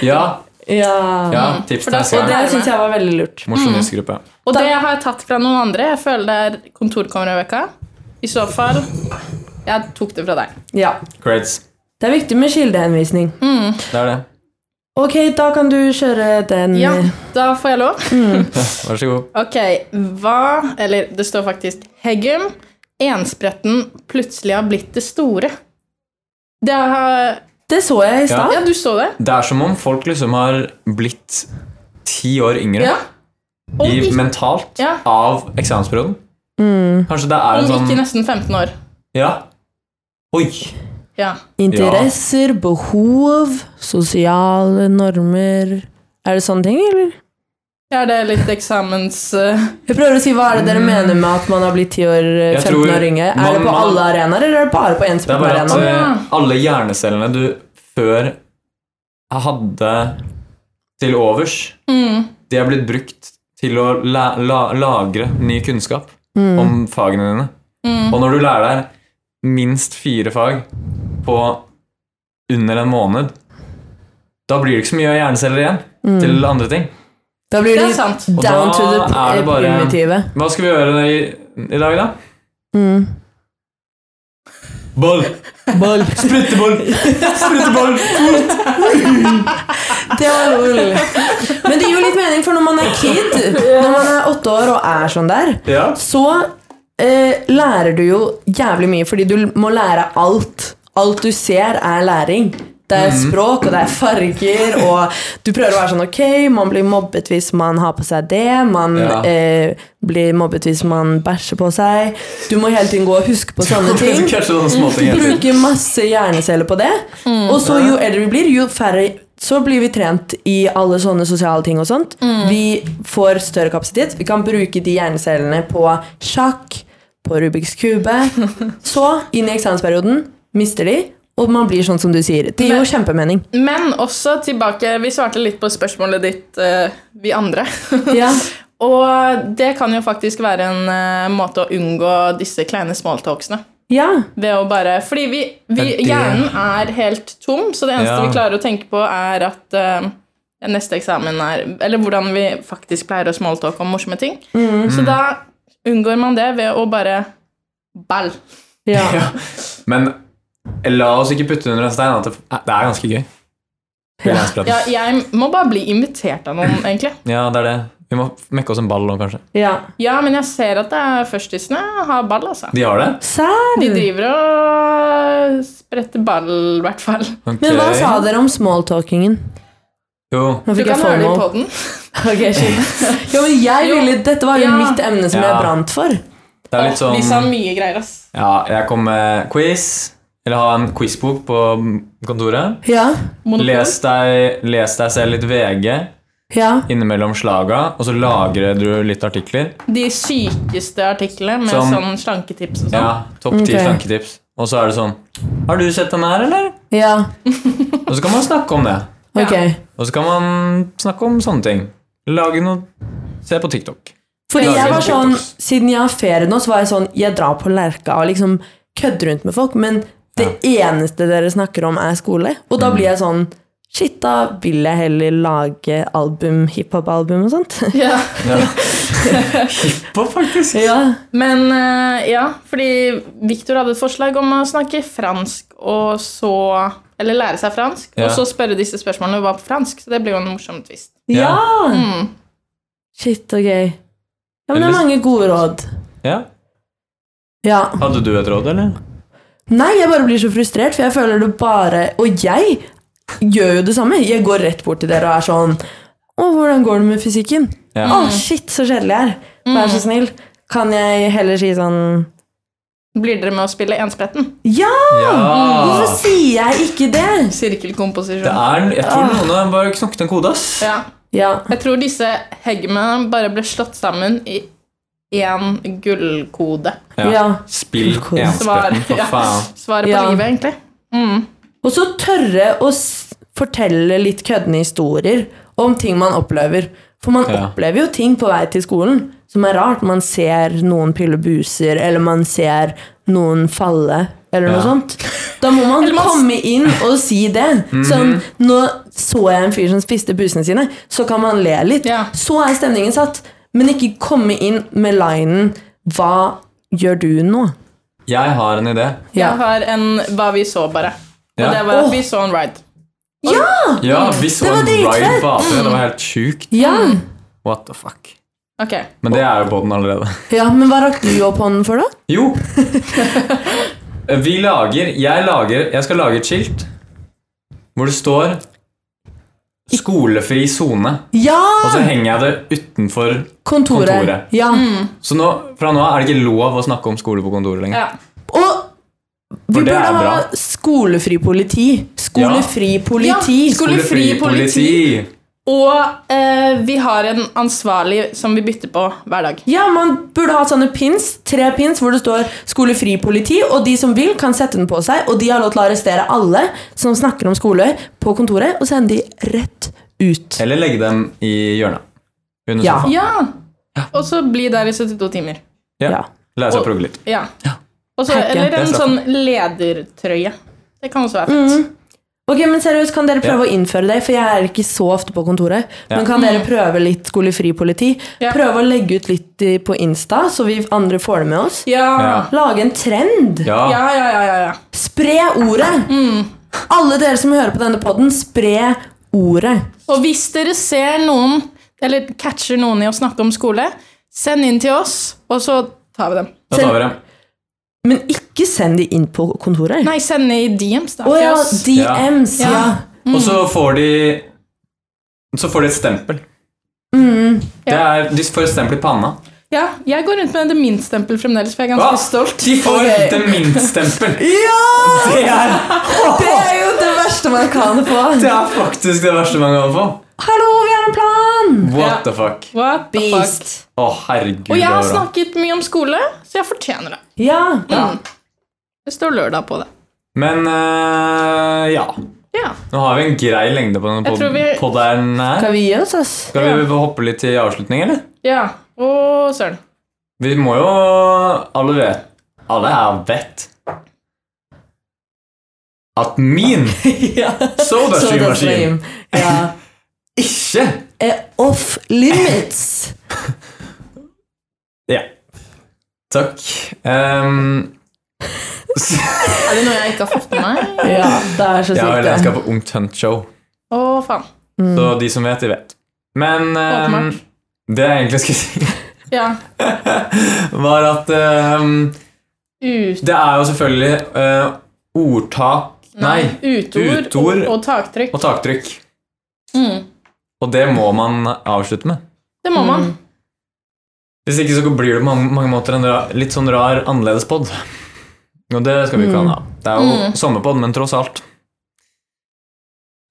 S2: Ja,
S4: Ja.
S2: ja tips
S1: Mm. For
S2: til
S1: da- Mm.
S2: neste
S1: og
S2: gang.
S4: Det syns jeg var veldig lurt.
S2: Mosjonistgruppe.
S1: Og det har jeg tatt fra noen andre. Jeg føler det er kontorkammerveka. I så fall Jeg tok det fra deg.
S4: Ja. Mm.
S2: Creds.
S4: Det er viktig med kildehenvisning.
S2: Det er det.
S4: Ok, da kan du kjøre den.
S1: Ja, da får jeg lov.
S2: Vær så god.
S1: Ok, hva Eller det står faktisk Heggum. Enspretten plutselig har blitt det store. Det har
S4: Det så jeg i
S2: Ah.
S4: stad.
S1: Ja, du så det?
S2: Det er som om folk liksom har blitt ti år yngre
S1: Ja. Og
S2: i,
S1: gikk,
S2: mentalt
S1: Ja.
S2: av eksamensperioden. Kanskje det er
S1: og
S2: en
S1: gikk i
S2: sånn
S1: nesten 15 år.
S2: Ja. Oi.
S1: Ja.
S4: Interesser, behov, sosiale normer. Er det sånne ting, eller?
S1: Er det litt eksamens... eh,
S4: Jeg prøver å si Hva er det dere mener med at man har blitt 10 år,
S2: Mm.
S4: eh,
S2: Jeg
S4: 15
S2: tror
S4: år yngre? Er
S2: man-
S4: det på
S2: man-
S4: alle arenaer, eller er det bare på én
S2: Det er bare at
S4: sportarena?
S2: eh, alle hjernecellene du før hadde til overs,
S1: mm.
S2: de er blitt brukt til å la, la, lagre ny kunnskap om fagene dine. Og når du lærer deg minst fire fag på under en måned, da blir det ikke så mye hjerneceller igjen til andre ting.
S4: Da blir
S1: Det
S4: det
S1: er sant.
S2: Og
S4: down
S2: da
S4: to the
S2: er det
S4: eh,
S2: bare-
S4: primitive.
S2: Hva skal vi gjøre i, i dag, da?
S4: Mm.
S2: Ball!
S4: Boll.
S2: Spretteball! Spretteball!
S4: Det var lol. Men det gir jo litt mening, for når man er kid, når man er åtte år og er sånn der,
S2: Ja.
S4: så eh, lærer du jo jævlig mye, fordi du må lære alt. Alt du ser, er læring. Det er
S2: Mhm.
S4: språk, og det er farger, og du prøver å være sånn ok, man blir mobbet hvis man har på seg det, man
S2: Ja.
S4: eh, blir mobbet hvis man bæsjer på seg. Du må hele tiden gå og huske på sånne ting.
S2: Kanskje sånne småting hele tiden.
S4: bruker masse hjerneceller på det.
S1: Mm.
S4: Og så jo eldre vi blir, jo færre så blir vi trent i alle sånne sosiale ting og sånt.
S1: Mm.
S4: Vi får større kapasitet. Vi kan bruke de hjernecellene på sjakk, på Rubiks kube. Så, inn i eksamensperioden, mister de, og man blir sånn som du sier. Det gir jo kjempemening.
S1: Men også tilbake Vi svarte litt på spørsmålet ditt, eh, vi andre.
S4: Ja.
S1: og det kan jo faktisk være en eh, måte å unngå disse kleine smalltalksene.
S4: ja.
S1: Ved å bare Fordi vi, vi,
S2: Det er det.
S1: hjernen er helt tom, så det eneste
S2: Ja.
S1: vi klarer å tenke på, er at eh, neste eksamen er Eller hvordan vi faktisk pleier å smalltalke om morsomme ting. Så da unngår man det ved å bare Ball.
S4: ja.
S2: Men la oss ikke putte under en stein at det, det er ganske gøy. Frilanspraten.
S1: Ja, jeg må bare bli invitert av noen, egentlig.
S2: Ja, det er det. Vi må mekke oss en ball nå, kanskje.
S4: ja.
S1: Ja, men jeg ser at det er førstisene har ball, altså.
S2: De har det?
S4: Serr!
S1: De driver og spretter ball, i hvert fall.
S2: Ok.
S4: Men hva sa dere om smalltalkingen?
S2: Jo.
S4: Nå
S1: Du
S4: fikk
S1: kan
S4: jeg
S1: høre det i
S4: FOMO.
S1: poden.
S4: Ok, shit. ja, men jeg ville, dette var jo
S1: Ja.
S4: mitt emne som
S2: Ja.
S4: jeg brant for.
S2: Det er litt
S1: Vi sa
S4: liksom-
S2: sånn
S1: mye greier, ass.
S2: Ja, jeg kom med quiz. Eller ha en quizbok på kontoret.
S4: Ja,
S1: Monopol.
S2: Les deg, les deg selv litt VG
S4: ja.
S2: innimellom slaga, og så lagrer du litt artikler.
S1: De sykeste artiklene med
S2: Som-
S1: sånn slanketips og sånn.
S2: Ja, Topp ti
S4: Ok.
S2: slanketips. Og så er det sånn Har du sett den her, eller?
S4: Ja,
S2: Og så kan man snakke om det.
S4: ok.
S2: Og så kan man snakke om sånne ting. Lage noe Se på TikTok.
S4: Fordi
S2: Lager
S4: jeg var
S2: litt
S4: sånn,
S2: TikToks.
S4: siden jeg har ferie nå, så var jeg sånn, jeg drar på lerka og liksom kødder rundt med folk, men det eneste dere snakker om er skole. Og da blir jeg sånn, shit, da vil jeg heller lage album, hiphop-album og sånt.
S1: Ja.
S2: På, faktisk.
S4: ja.
S1: Men eh, ja, fordi Victor hadde et forslag om å snakke fransk, og så Eller lære seg fransk,
S2: Ja.
S1: og så spørre disse spørsmålene var på fransk. Så det blir jo en morsom twist.
S4: Ja!
S1: Mm.
S4: Shit, ok. Ja, men det er mange gode råd.
S2: Ja.
S4: Ja.
S2: Hadde du et råd, eller?
S4: Nei, jeg bare blir så frustrert, for jeg føler det bare Og jeg gjør jo det samme. Jeg går rett bort til dere og er sånn Å, hvordan går det med fysikken?
S2: Ja.
S4: Å, shit, så kjedelig jeg er. Vær så snill. Kan jeg heller si sånn
S1: Blir dere med å spille Enspretten?
S4: Ja! Hvorfor
S2: ja.
S4: sier jeg ikke det?
S2: Det
S1: Sirkelkomposisjon.
S2: er, jeg tror noen har bare knokket en kode, ass.
S1: Ja.
S4: Ah. Ja.
S1: Jeg tror disse heggene bare ble slått sammen i én gullkode.
S2: Ja.
S4: ja.
S2: Spill
S4: Kode.
S1: Svar,
S2: enspretten, for
S1: ja.
S2: faen.
S1: Svaret på
S4: Ja.
S1: livet, egentlig. Mm.
S4: Og så tørre å s fortelle litt køddende historier om ting man opplever. For man
S2: Ja.
S4: opplever jo ting på vei til skolen som er rart. Man ser noen pille buser, eller man ser noen falle, eller
S2: Ja.
S4: noe sånt. Da må man,
S1: man s-
S4: komme inn og si det.
S2: Mhm.
S4: Sånn, nå så jeg en fyr som spiste busene sine, så kan man le litt.
S1: Ja.
S4: Så er stemningen satt. Men ikke komme inn med linen 'Hva gjør du nå?'
S2: Jeg har en idé.
S4: Ja.
S1: Jeg har en hva vi så, bare. Og
S2: Ja.
S1: det var at
S4: Åh.
S1: vi så en ride.
S4: Ja!
S2: Ja, vi så
S4: Det var
S2: en
S4: dritfett. Mm.
S2: ride på AC. Det var helt sjukt.
S4: Ja.
S2: What the fuck.
S1: Ok.
S2: Men det er jo på den allerede.
S4: ja, men hva rakk du opp hånden for, da?
S2: Jo! Vi lager Jeg lager Jeg skal lage et skilt hvor det står 'skolefri sone', og så
S4: Ja!
S2: henger jeg det utenfor
S4: Kontoret.
S2: kontoret.
S4: Ja.
S1: Mm.
S2: Så nå, fra nå av er det ikke lov å snakke om skole på kontoret lenger.
S1: Ja.
S4: Og vi
S2: det
S4: burde
S2: er
S4: ha
S2: bra.
S4: skolefri politi. Skolefri politi.
S1: Ja, skole- Skolefri Og eh, vi har en ansvarlig som vi bytter på hver dag.
S4: Ja, man burde ha sånne pins, tre pins hvor det står 'skolefri politi', og de som vil, kan sette den på seg, og de har lov til å arrestere alle som snakker om skole, på kontoret, og sende de rett ut.
S2: Eller legge dem i hjørnet. Under
S4: Ja.
S2: sofaen.
S1: Ja. Og så bli der i 72 timer.
S4: Ja.
S2: Lære seg
S1: Og-
S2: å progge litt.
S1: Ja. Og så-
S4: Hekke.
S1: eller
S2: Det er
S1: en
S2: straffen.
S1: sånn ledertrøye. Det kan også være
S4: Mm.
S1: fett.
S4: Ok, men seriøst, Kan dere
S2: Ja.
S4: prøve å innføre det? For jeg er ikke så ofte på kontoret. Men kan dere prøve litt skolefri politi?
S1: Ja.
S4: Prøve å legge ut litt i- på Insta, så vi andre får det med oss?
S1: Ja.
S4: Lage en trend?
S2: Ja.
S1: Ja, ja, ja, ja, ja.
S4: Spre ordet! Alle dere som hører på denne podden, spre ordet.
S1: Og hvis dere ser noen, eller catcher noen i å snakke om skole, send inn til oss, og så tar vi dem.
S2: Da tar vi det.
S4: Men ikke send de inn på kontoret.
S1: Nei, send i DMs, da.
S4: Å
S1: til
S4: ja,
S1: oss.
S4: DMs, ja.
S1: Ja. Mm.
S2: Og så får de Så får de et stempel.
S1: Mm.
S2: Det er, de får et stempel i panna.
S1: Ja, jeg går rundt med det min stempel fremdeles, for jeg er
S2: Hva?
S1: ganske stolt.
S2: Ah, De får
S4: Ok.
S2: det minst-stempel!
S4: Ja!
S2: Det, er-
S4: Det er jo det verste man kan få.
S2: det er faktisk det verste man kan få.
S4: Hallo, vi har en plan!
S2: What the fuck.
S1: What the fuck?
S2: Å, herregud.
S1: Og jeg har
S2: det var bra.
S1: snakket mye om skole, så jeg fortjener det.
S4: Ja.
S1: Det står lørdag på det.
S2: Men eh, ja.
S1: Ja.
S2: Nå har vi en grei lengde på denne
S1: Jeg tror
S2: pod
S1: vi-
S2: podden her.
S4: Skal vi gi oss, ass?
S2: Skal vi hoppe litt til avslutning, eller?
S1: ja. Å, søren.
S2: Vi må jo Alle vet Alle her vet at min
S4: Ja.
S2: sodastream-maskin
S4: Ja.
S2: ikke
S4: Er off limits.
S2: Ja. Takk. Ehm, s-
S1: Er det noe jeg ikke har fått med meg?
S4: Ja, det er så
S2: ja, vel, jeg
S4: sykt. det.
S2: skal på Ungt Hunt-show,
S1: Å, faen.
S2: så de som vet, de vet. Men ehm,
S1: Åpenbart.
S2: det jeg egentlig skulle si,
S1: Ja.
S2: var at ehm,
S1: Ut...
S2: det er jo selvfølgelig eh, ordtak Nei,
S1: Utord,
S2: utord
S1: og, og taktrykk.
S2: og taktrykk.
S1: Mm.
S2: Og det må man avslutte med.
S1: Det må man.
S2: Hvis ikke så blir det på mange, mange måter en ra- litt sånn rar annerledes pod. Og det skal vi ikke ha. da. Det er jo
S1: Mm.
S2: sommerpod, men tross alt.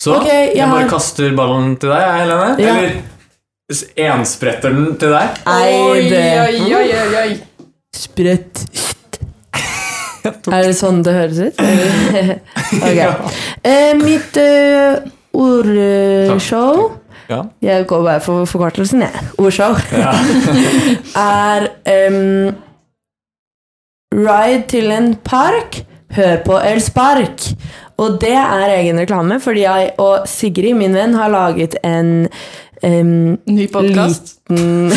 S2: Så
S4: Ok, jeg
S2: jeg bare
S4: har-
S2: kaster ballen til deg, jeg, Helene.
S4: Ja.
S2: Eller s- enspretter den til deg.
S1: Oi,
S4: Nei,
S1: oi,
S4: det
S1: oi, oi, oi.
S4: Sprøtt. Er det sånn det høres ut? ok. Eh, mitt eh, ordshow
S2: Ja.
S4: Jeg går bare for forkortelsen, jeg. Ordshow. er em, Ride til en park, hør på El Spark. Og det er egen reklame, fordi jeg og Sigrid, min venn, har laget en em,
S1: Ny podkast.
S4: liten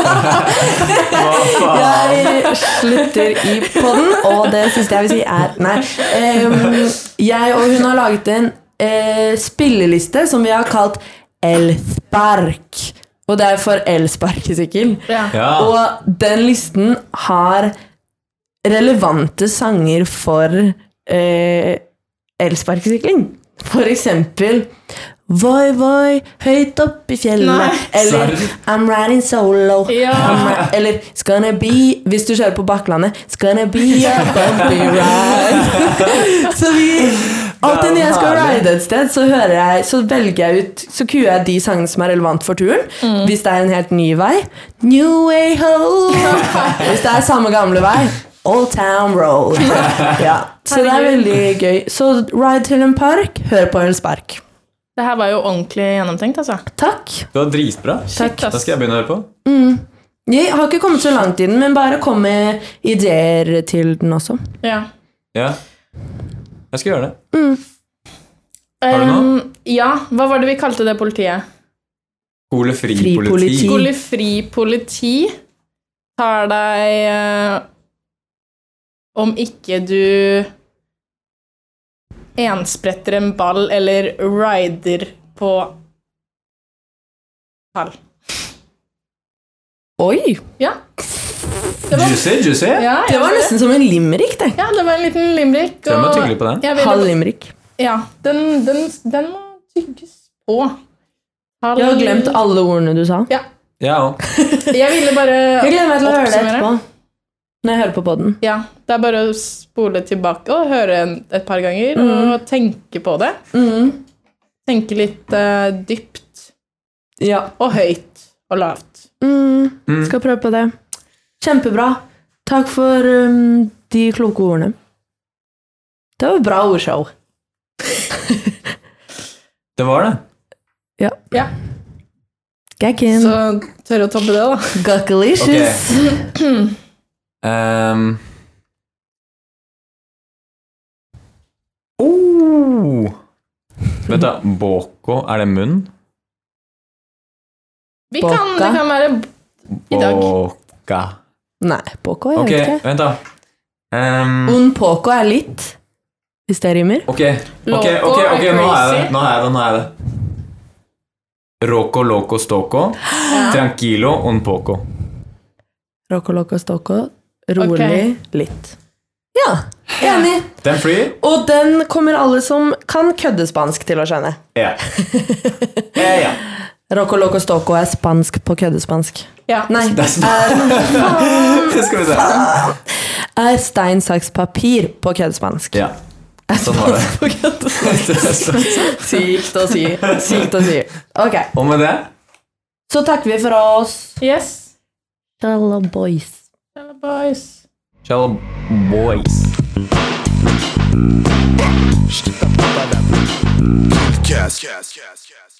S2: Hva faen?
S4: Jeg slutter i podden, og det siste jeg vil si er Nei. Em, jeg og hun har laget en eh, spilleliste som vi har kalt Elspark. Og det er for elsparkesykkel.
S1: Ja.
S2: Ja.
S4: Og den listen har relevante sanger for eh, elsparkesykling. For eksempel Voi, voi, høyt opp i fjellet.
S1: Nei.
S4: Eller
S2: Serr?
S4: I'm riding solo.
S1: Ja.
S4: I'm ri- eller It's gonna be Hvis du kjører på Bakklandet. It's gonna be a bumpy ride. så vi Alltid når jeg skal
S2: herlig.
S4: ride et sted, så, hører jeg, så velger jeg ut Så kuer jeg de sangene som er relevant for turen. Hvis det er en helt ny vei New way home. Hvis det er samme gamle vei Old Town Road. Ja. Så det er veldig gøy. Så ride til en park, hør på Els Park.
S1: Det her var jo ordentlig gjennomtenkt, altså.
S4: Takk.
S2: Det var dritbra.
S1: Shit,
S2: Da
S1: ass.
S2: skal jeg begynne å høre på.
S4: Mm. Jeg har ikke kommet så langt i den, men bare kom med ideer til den også.
S1: Ja.
S2: Ja. Jeg skal gjøre det. Har du noe?
S1: Em, Um, ja, hva var det vi kalte det politiet?
S2: Skolefri
S4: Fri politi.
S2: politi.
S1: Skolefri politi tar deg eh, Om ikke du enspretter en ball eller rider på pall.
S4: Oi!
S1: Ja.
S2: Juicy, juicy.
S1: ja jeg
S4: Det var
S1: gjorde
S4: nesten som en limerick, det.
S1: Ja, det var en liten limerick.
S2: Den var
S1: og-
S2: tydelig på den.
S1: Jeg vil-
S4: Halv limerick.
S1: Ja, den, den, den må tygges på. Halv-
S4: Jeg har glemt alle ordene du sa.
S2: Ja, og.
S1: Jeg ville bare
S4: Jeg gleder meg til å høre det
S1: oppsummere.
S4: etterpå. Når jeg hører på podden.
S1: Ja, det er bare å spole tilbake og høre en, et par ganger
S4: Mm.
S1: og tenke på det. Tenke litt eh, dypt
S4: Ja.
S1: og høyt og lavt.
S4: Mm, skal prøve på det. Kjempebra. Takk for um, de kloke ordene. Det var et bra ordshow.
S2: det var det.
S1: Ja,
S4: Gakken.
S1: så tørre å toppe det, da.
S4: Guckalicious.
S2: Ehm. Oh! Vent, da. Boko, er det munn?
S1: Vi kan, det
S4: Boka.
S1: kan være I dag.
S2: Boka.
S4: Nei, poco, jeg
S2: Ok,
S4: vet ikke.
S2: vent, da. Ehm,
S4: Un poco er litt, hvis det rimer.
S2: ok, ok, ok, ok, nå har jeg det. Nå har jeg det. nå har jeg det. Roco loco stoco, tranquilo un poco.
S4: Roco loco stoco. Rolig litt. Ja, enig.
S2: Den flyr.
S4: Og den kommer alle som kan kødde spansk, til å skjønne.
S2: Ja. ja, ja.
S4: Roco loco stoco er spansk på køddespansk.
S1: Ja.
S4: Nei, Eh,
S2: Skal vi se.
S4: er stein, saks, papir på køddespansk.
S2: Ja. Sånn var det.
S4: På køddespansk. Sykt å si. Sykt å si. Ok,
S2: Og med det
S4: så takker vi for oss.
S1: Yes.
S4: Hello, boys.
S1: Hello, boys.
S2: Shall boys.
S7: Cast, cast, cast, cast.